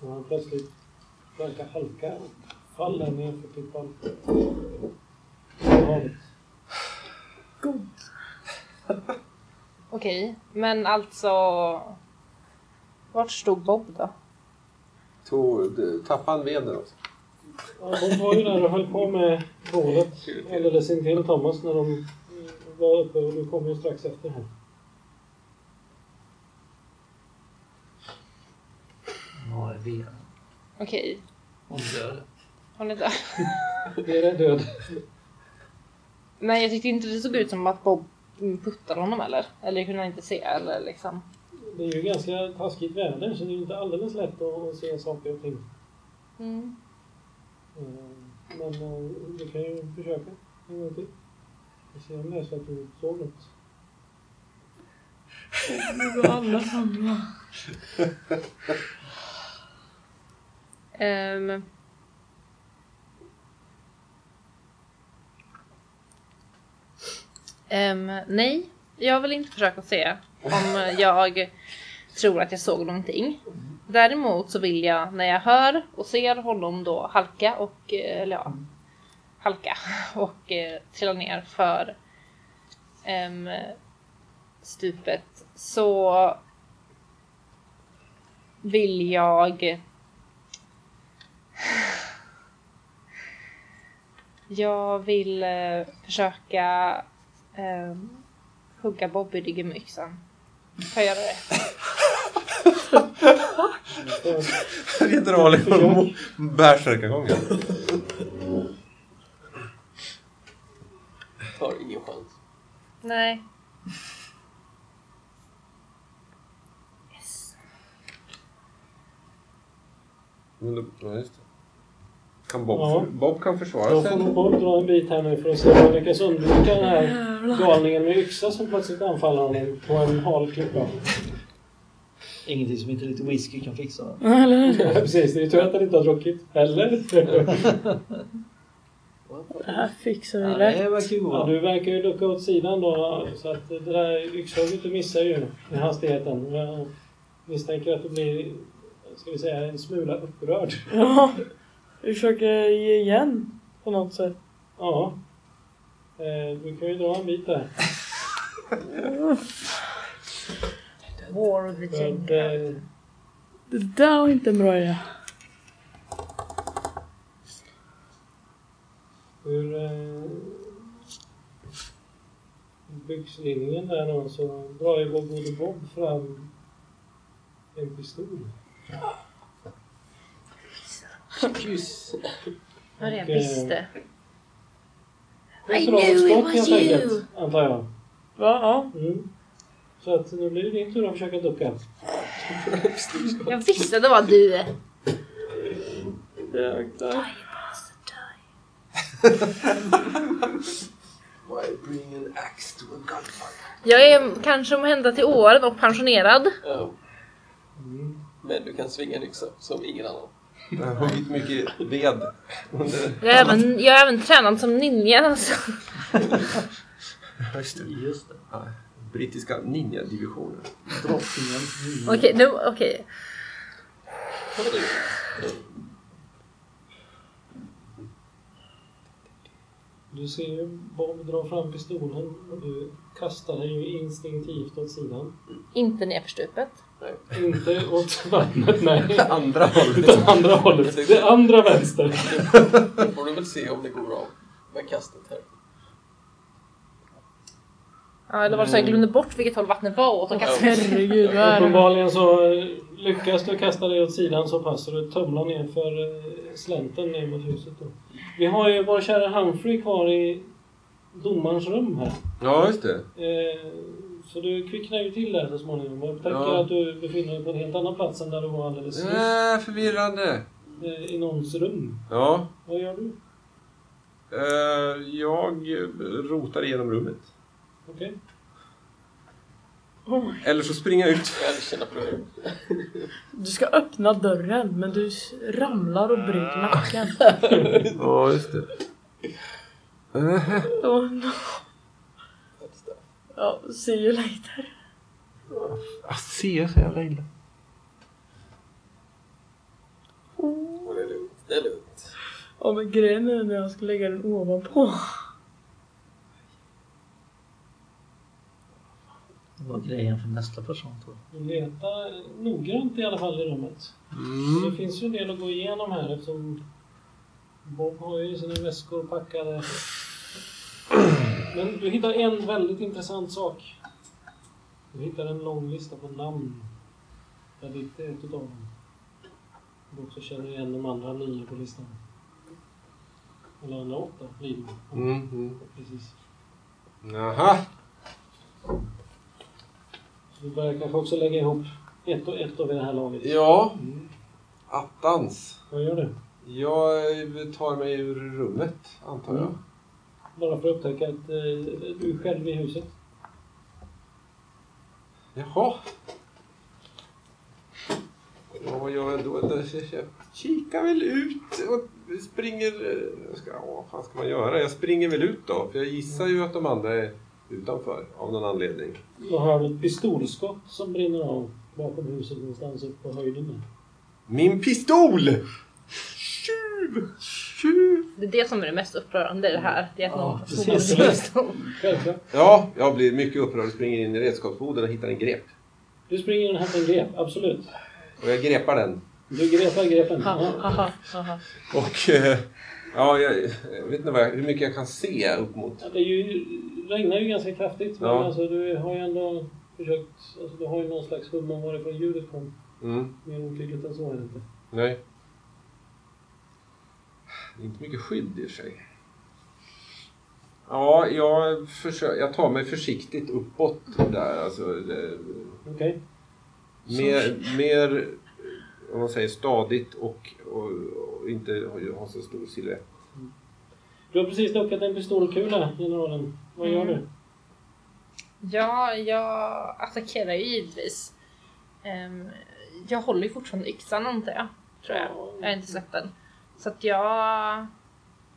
Och han plötsligt verkar halka och faller ner för pipan. I havet. Okej, men alltså... Vart stod Bob då? Tog, tappade han veden också? Ja, de var ju där och höll på med bålet alldeles intill Thomas när de eh, var uppe och du kom ju strax efter här. Ja, jag vet. Okej, Hon dör. hon är död. Det är död. Nej, jag tyckte inte det såg ut som att Bob puttade honom eller? Eller kunde han inte se eller liksom? Det är ju ganska taskigt väder så det är ju inte alldeles lätt att att se saker och ting. Mm. Eh, Men eh, du kan ju försöka en gång till. Vi ser om det är så att du såg något. Nu går alla samma. Ehm. Ehm, nej, jag vill inte försöka se om jag tror att jag såg någonting. Däremot så vill jag när jag hör och ser honom då halka och, eh, eller ja, halka och eh, trilla ner för ehm, stupet så vill jag Jag vill eh, försöka ehm, hugga Bobby i ryggen med yxan. Får jag göra det? Det drar liksom bärsärkagången. Har ingen chans. Nej. Yes. Men då- Ja, just det. Kan Bob, Ja. Bob kan försvara Då sig. får nog Bob dra en bit här nu för att se om han lyckas undvika den här galningen med yxa som plötsligt anfaller honom på en hal klippa. Ingenting som inte lite whisky kan fixa. Ja, Eller hur? Ja, precis. Det är tur att han inte har druckit heller. Det här fixar vi Ja, lätt. det verkar ju gå Ja, bra. du verkar ju ducka åt sidan då, så att det där yxhugget du missar ju i hastigheten. Jag misstänker att du blir, ska vi säga, en smula upprörd. Ja. Vi försöker ge igen på något sätt. Ja. Eh, Du kan ju dra en bit där. War of the För att, eh, Det där var inte en bra idé. Ur eh, byxlinningen där då så drar ju Bob Gode Bob fram en pistol. Kyss. Vad jag Okej. visste. I knew it was you! Antar jag. Va? Ja. Mm. Så att nu blir det din tur att försöka ducka. Jag visste det var du! Jäklar. Why bring an axe to a gunfight? Jag är kanske omhända till åren och pensionerad. Ja. Men du kan svinga en yxa som ingen annan. Jag har huggit mycket ved. Jag är även, jag är även tränad som ninja. Alltså. Just det. Ja, Brittiska ninja-divisionen. Okej, nu, okej. Du ser ju Bob dra fram pistolen och du kastar den ju instinktivt åt sidan. Inte nerför stupet. Inte åt vattnet, nej. Andra hållet. Utan andra hållet. Det andra vänster. Då får du väl se om det går av med kastet här. Ja, eller var det så jag glömde bort vilket håll vattnet var åt och kastade mig. Herregud, vad är det? Uppenbarligen så eh, lyckas du kasta dig åt sidan så pass så du tumlar ner för eh, slänten ner mot huset. Då. Vi har ju vår kära Humphrey kvar i domarens rum här. Ja, just det. Eh, Så du kvicknar ju till där så småningom och upptäcker Ja. att du befinner dig på en helt annan plats än där du var alldeles nyss. Äh, förvirrande. eh, I någons rum. Ja. Vad gör du? eh, jag rotar igenom rummet. Okej. Eller så springer jag ut. Jag känner på det. Du ska öppna dörren men du s- ramlar och bryter nacken. Ja, just det. Eh, Oh, no. Ja, see you later. Jag ser så jävla illa. Och det är lugnt. Det är lugnt. Ja men grejen är när jag ska lägga den ovanpå. Det var grejen för nästa person tror jag. Du letar noggrant i alla fall i rummet. Det finns ju en del att gå igenom här eftersom Bob har ju sina väskor packade. Men du hittar en väldigt intressant sak. Du hittar en lång lista på namn. Där ditt är ett utav dem. Du också känner igen de andra nio på listan. Eller andra åtta blir det. Mhm. Precis. Jaha. Du börjar kanske också lägga ihop ett och ett av det här laget. Ja. Attans. Vad gör du? Jag tar mig ur rummet, antar jag. Bara för att upptäcka att eh, du är själv i huset. Jaha. Ja, vad gör jag då? Jag- Jag kikar väl ut och springer... eh, jag Ska, ja, vad fan ska man göra? Jag springer väl ut då. För jag gissar ju att de andra är utanför av någon anledning. Då hör du ett pistolskott som brinner av bakom huset någonstans uppe på höjden. där. Min pistol! Tjuv! Tjuv! Det är det som är det mest upprörande i det här. Det är att någon liksom- snor precis. din pistol. Självklart. Ja, jag blir mycket upprörd och springer in i redskapsboden och hittar en grep. Du springer in och hämtar en grep, absolut. Och jag grepar den. Du grepar grepen. Ja, Ja. aha, aha. Och... eh, Ja, jag, jag vet inte vad jag, hur mycket jag kan se upp mot. Ja, Det är ju, regnar ju ganska kraftigt, men Ja. alltså, du har ju ändå försökt... Alltså, du har ju någon slags hum om varifrån ljudet kom. Mm, Mer otydligt än så är det inte. nej. Det är inte mycket skydd i och för sig. Ja, jag, försöker, jag tar mig försiktigt uppåt där. Alltså, det, Okej. Mer, mer om man säger stadigt och, och, och inte ha- ha så stor silhuett. Du har precis duckat en pistolkula, generalen. Vad gör Mm. du? Ja, jag attackerar ju givetvis. Ehm, jag håller ju fortfarande yxan antar jag. Tror jag. Jag har inte släppt den. Så att jag...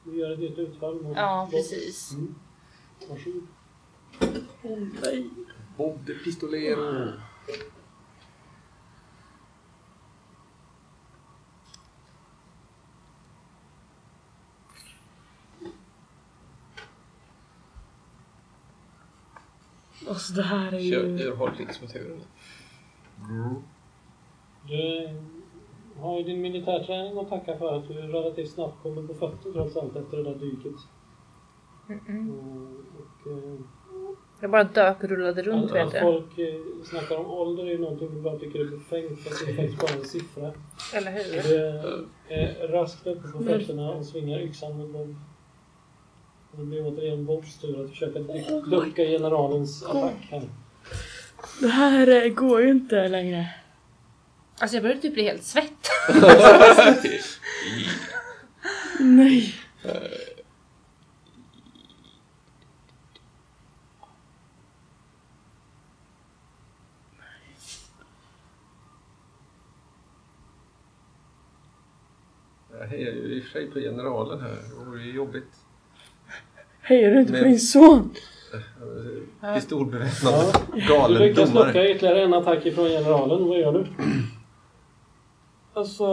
Du gör ett nytt utfall mot... Ja, mot- precis. Varsågod. Bob the Pistolero! Alltså det här är Kör ju... urholkningsmetoden. Du har ju din militärträning att tacka för att du relativt snabbt kommer på fötter trots allt efter det där dyket. Mm-mm. Mm, Och, eh, Jag bara dök och rullade runt att, vet att jag. folk eh, snackar om ålder är ju någonting vi bara tycker är befängt för att det är faktiskt bara en siffra. Eller Så hur? Du är eh, raskt uppe Mm. på fötterna och svingar yxan med Bob. Och det blir återigen Bobs tur att Oh försöka dy- ducka generalens attack här. Det här eh, går ju inte längre. Alltså jag började typ bli helt svett. Nej. Jag hejar ju i och för sig på generalen här. Det vore ju jobbigt. Hejar du inte på Men- din son? Pistolbeväpnad Du galen lyckas domare. ducka ytterligare en attack ifrån generalen. Vad gör du? Alltså...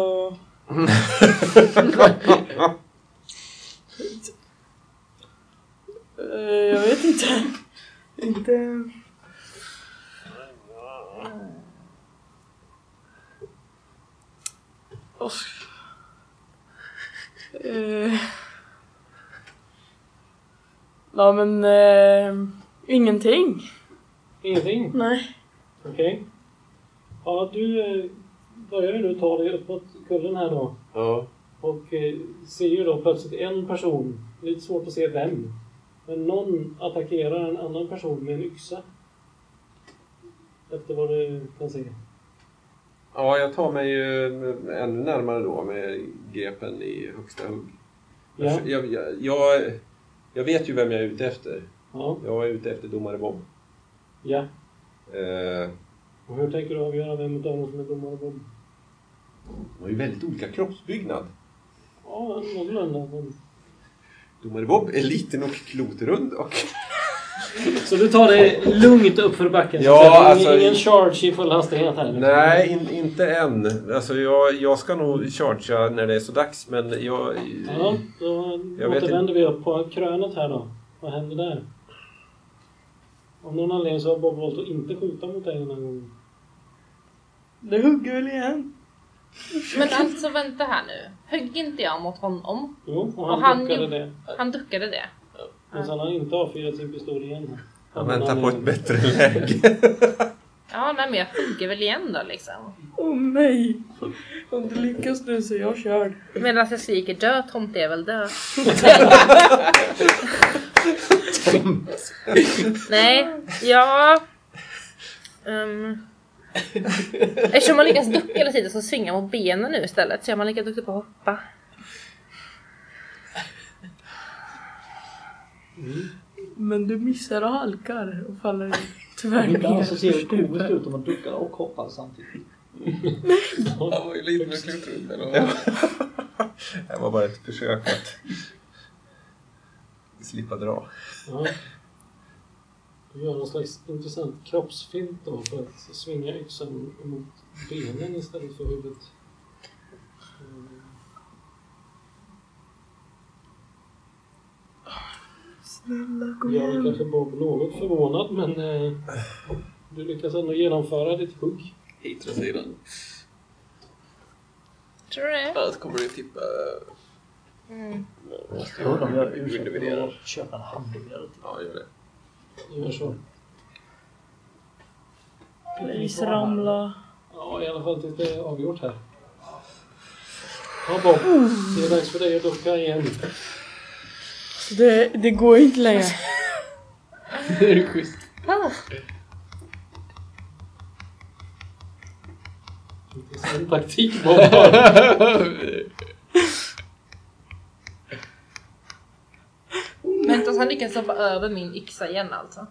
Eh, Jag vet inte. Inte... Åh. Alltså- Eh. Ja men... eh, ingenting. Ingenting? Nej. Okej. Ja, du eh, börjar ju nu ta dig uppåt kullen här då. Ja. Och eh, ser ju då plötsligt en person, lite svårt att se vem, men någon attackerar en annan person med en yxa. Efter vad du kan se. ja, jag tar mig ju ännu närmare då med grepen i högsta hugg. Ja. Jag, jag, jag, jag vet ju vem jag är ute efter. Ja. Jag är ute efter domare Bob. ja. Eh, Och hur tänker du avgöra vem utav dem som är domare Bob? de har ju väldigt olika kroppsbyggnad. Ja, någorlunda. men- Domare Bob är liten och klotrund och Så du tar det lugnt upp för backen? så Ja, att säga. alltså- ingen, ingen charge i full hastighet här? liksom. Nej, in, inte än. Alltså jag, jag ska nog chargea när det är så dags, men jag... Ja, då Jag vet återvänder vi upp på krönet här då. Vad händer där? Av någon anledning så har Bob valt att inte skjuta mot dig den här gången. Det hugger väl igen. Men alltså vänta här nu. Högg inte jag mot honom? Jo, och Och han, han duckade gjorde- det. Han duckade det. Men sen har han inte avfyrat sin pistol igen. Jag Av väntar någon på ett anledning. bättre läge. Ja, nej men jag hugger väl igen då liksom. Åh nej. Om du lyckas nu så är jag körd. Medan jag skriker dö tomte är väl dö. nej, ja... Um, eftersom man lyckas ducka hela tiden så svingar man mot benen nu istället så är man lika duktig på att hoppa. Men du missar och halkar och faller tyvärr Ibland ner. så ser det komiskt ut om man duckar och hoppar samtidigt. Han var ju lite med klotrund eller vad? Det var bara ett försök att slippa dra. Ja. Du gör någon slags intressant kroppsfint då för att svinga yxan mot benen istället för huvudet. Snälla, kom Jag är igen. kanske bara något förvånad men eh, du lyckas ändå genomföra ditt hugg. Hit från sidan. Tror du det? Annars kommer du tippa... Mm. Jag undrar om jag är ursäktad Undervärderar. att köpa en hamburgare till. Ja, gör det. Gör så. Please ramla. Ja, i alla fall tills det är avgjort här. Ja, Bob. Det är dags för dig att ducka igen. Det, det går ju inte längre. Det är ju schysst. Intressant taktik Bob har. Vänta, så han lyckas hoppa över min yxa igen alltså.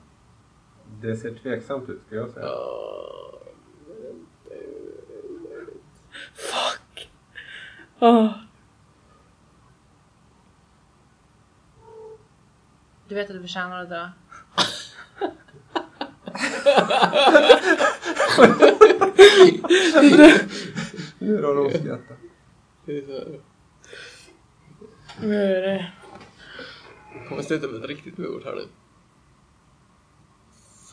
Det ser tveksamt ut ska jag säga. Ah, Du vet att du förtjänar att dö. Nu har de skrattat. Det är så här. nu är det... Jag kommer sluta med ett riktigt mord här nu.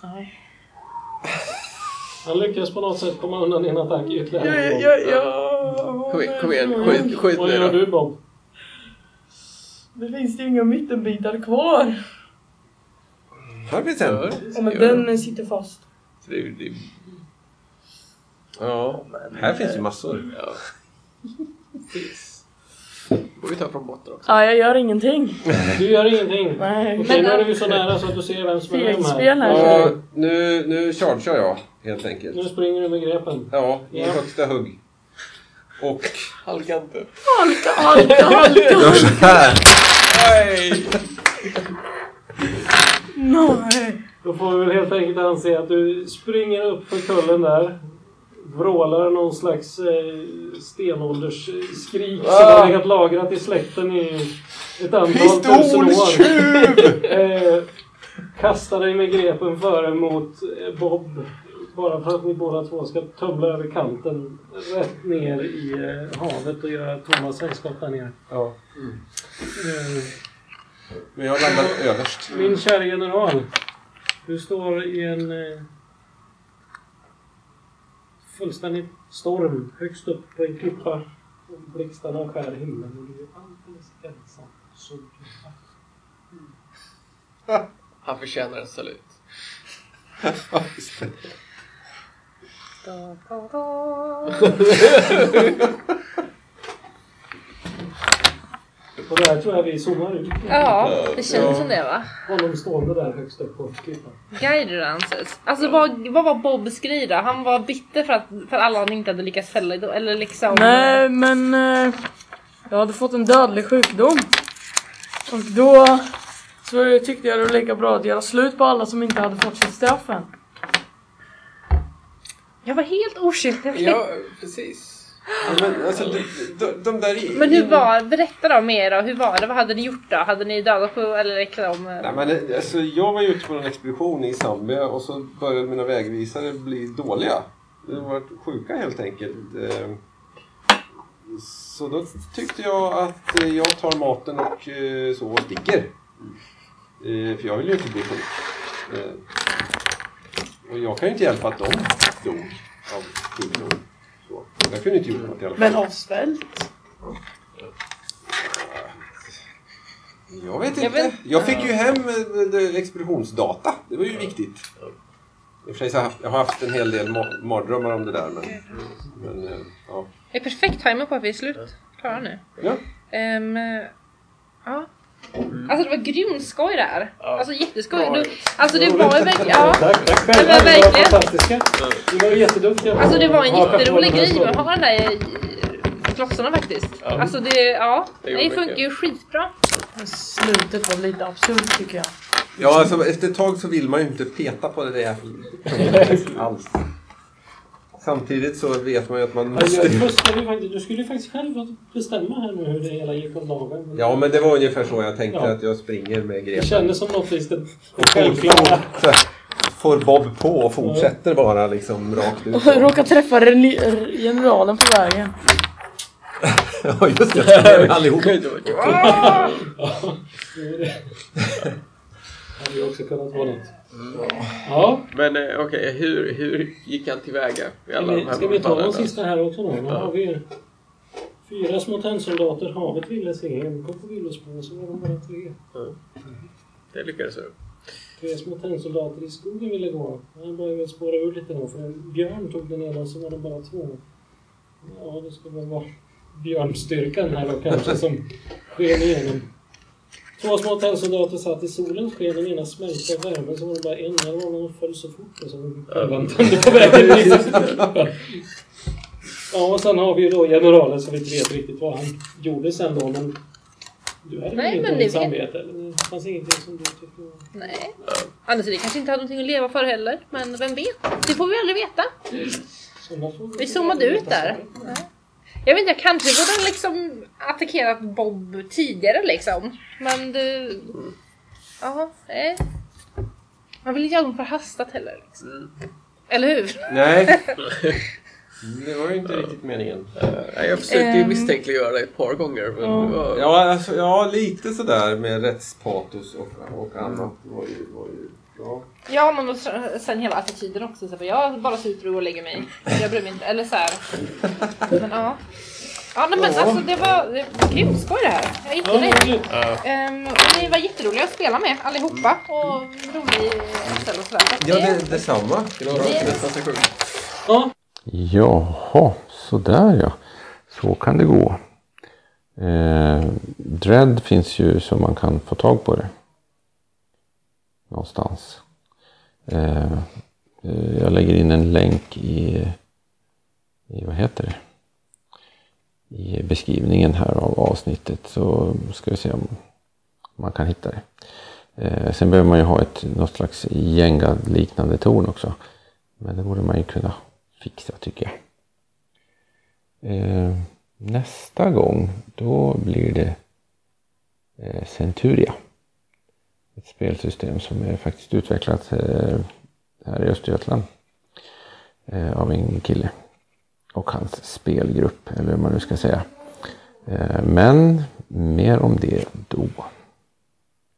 Nej. Han lyckas på något sätt komma undan din attack ytterligare Jag, en jag, gång. jag... Kom igen, kom igen. Skjut, skjut Vad nu gör då. du Bob? Det finns ju inga mittenbitar kvar. Här finns Ja, en. Ja, men den sitter fast. Det är ju- det är- Ja. Här finns ju massor. Ja. Precis. Får vi ta från botten också. Ja, jag gör ingenting. Du gör ingenting. Nej. Okej, nu Men- är du så nära så att du ser vem som är vem här. Fegspel här. Ja, nu, nu chargear jag helt enkelt. Nu springer du med grepen. Ja, i Ja. högsta hugg. Och... Halka inte. Halka, halka, halka. Gör så här. Nej! Nej. Då får vi väl helt enkelt anse att du springer upp för kullen där. Vrålar någon slags eh, stenåldersskrik som har legat lagrat i släkten i ett antal tusen år. Eh, kastar dig med grepen före mot eh, Bob. Bara för att ni båda två ska tumla över kanten rätt ner i eh, havet och göra Thomas sällskap där nere. Ja. Eh, Men jag landar överst. Min kära general. Du står i en eh, fullständig storm högst upp på en klippa. Och Blixtarna skär himlen och du är alldeles ensam. Så du Han förtjänar en salut. Da, da, da. Och där tror jag vi zoomar ut Ja, det känns som det va? honom stående där högst upp på klippan. Guider answers. Alltså vad, vad var Bobs grej då? Han var bitter för, att, för alla han inte hade lyckats fälla då, eller liksom... Nej, men... eh, Jag hade fått en dödlig sjukdom. Och då så tyckte jag det var lika bra att göra slut på alla som inte hade fått sitt straff än. Jag var helt oskyldig. Ja, precis. Men alltså, de, de, de där... i- Men hur var, berätta då mer då, hur var det? Vad hade ni gjort då? Hade ni dödat på eller liksom... Nej, men, alltså, jag var ju ute på en expedition i Zambia och så började mina vägvisare bli dåliga. De var sjuka helt enkelt. Eh, Så då tyckte jag att eh, jag tar maten och eh, så och sticker. Eh, För jag vill ju inte bli sjuk. Eh, Och jag kan ju inte hjälpa att de dog av sjukdom. Så. Jag kunde inte gjort något i alla fall. av svält? Jag vet inte. Jag Jag, vet- fick ju hem eh, eh, expeditionsdata. Det var ju viktigt. I och för sig så har jag haft- jag har haft en hel del ma- mardrömmar om det där. Men, men eh, ja. Det är perfekt timing på att vi är slut. Klara nu. Ja. Ehm, ja. Alltså det var grymt skoj det här. Alltså jätteskoj. Bra. Du, alltså det var ju verkligen... Ja. Tack, tack Ja, men Ni var verkligen. fantastiska. Ni var jätteduktiga. Alltså det var en Ja, jätterolig tack. grej att ha den där eh, klossarna faktiskt. Ja. Alltså det, ja. Det Det, gjorde funkar mycket. ju skitbra. Slutet var lite absurt tycker jag. ja, alltså efter ett tag så vill man ju inte peta på det där alls. Samtidigt så vet man ju att man Ja, jag måste... fuskade ju faktiskt. Du skulle ju faktiskt själv bestämma här nu hur det hela gick om dagen. Men Ja, men det var ungefär så jag tänkte Ja. att jag springer med Det grejen. kändes som något visst det Fort- självklara. så här, Får Bob på och fortsätter bara liksom rakt ut. Råkade träffa reli- r- generalen på vägen. Ja, just det. Allihop. Oj, det var- Det är det. Hade ju också kunnat vara något. Ja, Men eh, okej, hur, hur gick han tillväga? i ska alla de vi, här ska vi ta fallen de då? sista här också då? Nu Ja. har vi ju fyra små tennsoldater, havet ville sig hem, kom på villospår så var de bara tre. Det lyckades du. Tre små tennsoldater i skogen ville gå. Den började spåra ur lite då, för en björn tog den ena så var de bara två. Ja, det skulle väl vara björnstyrkan här då kanske som sken igenom. Två små tennsoldater satt i solen, sken den ena smälte av värmen så var det bara en, den var någon föll så fort och så den tände på vägen dit. Ja, och sen har vi ju då generalen som vi inte vet riktigt vad han gjorde sen då, men du hade Nej, väl inget men ni dåligt vet. samvete? eller? Det fanns ingenting som du tyckte var... Nej. Annars är det kanske inte hade någonting att leva för heller. Men vem vet? Det får vi aldrig veta. Sådana frågor. Vi zoomade ut där. Jag vet inte, jag kanske borde ha liksom attackerat Bob tidigare liksom. Men du... Ja, nej. Man vill inte göra något förhastat heller. Liksom. Eller hur? Nej. Det var ju inte riktigt meningen. Nej, jag försökte ju Ehm. misstänkliggöra dig ett par gånger. Men det var... Ja, alltså, ja lite sådär med rättspatos och, och annat. Det var ju, var ju, ja. Ja, men och så- sen hela attityden också. Så här, jag bara super och lägger mig. Jag bryr mig inte. Eller så här. Men ja. Ja, nej, men alltså det var, det var grymt skoj det här. Jag är jättenöjd. Ehm, och ni var jätteroliga att spela med allihopa. Och rolig ställ och sådär. Så att ja det- det, detsamma. Det var bra till nästa session. Jaha, sådär ja. Så kan det gå. Eh, Dread finns ju så man kan få tag på det. Någonstans. Eh, eh, jag lägger in en länk i, i vad heter det? I beskrivningen här av avsnittet så ska vi se om man kan hitta det. Eh, sen behöver man ju ha ett, något slags gängad-liknande torn också. Men det borde man ju kunna fixa tycker jag. Eh, nästa gång då blir det eh, Centuria. Ett spelsystem som är faktiskt utvecklat eh, här i Östergötland eh, av en kille och hans spelgrupp eller hur man nu ska säga. Eh, men mer om det då.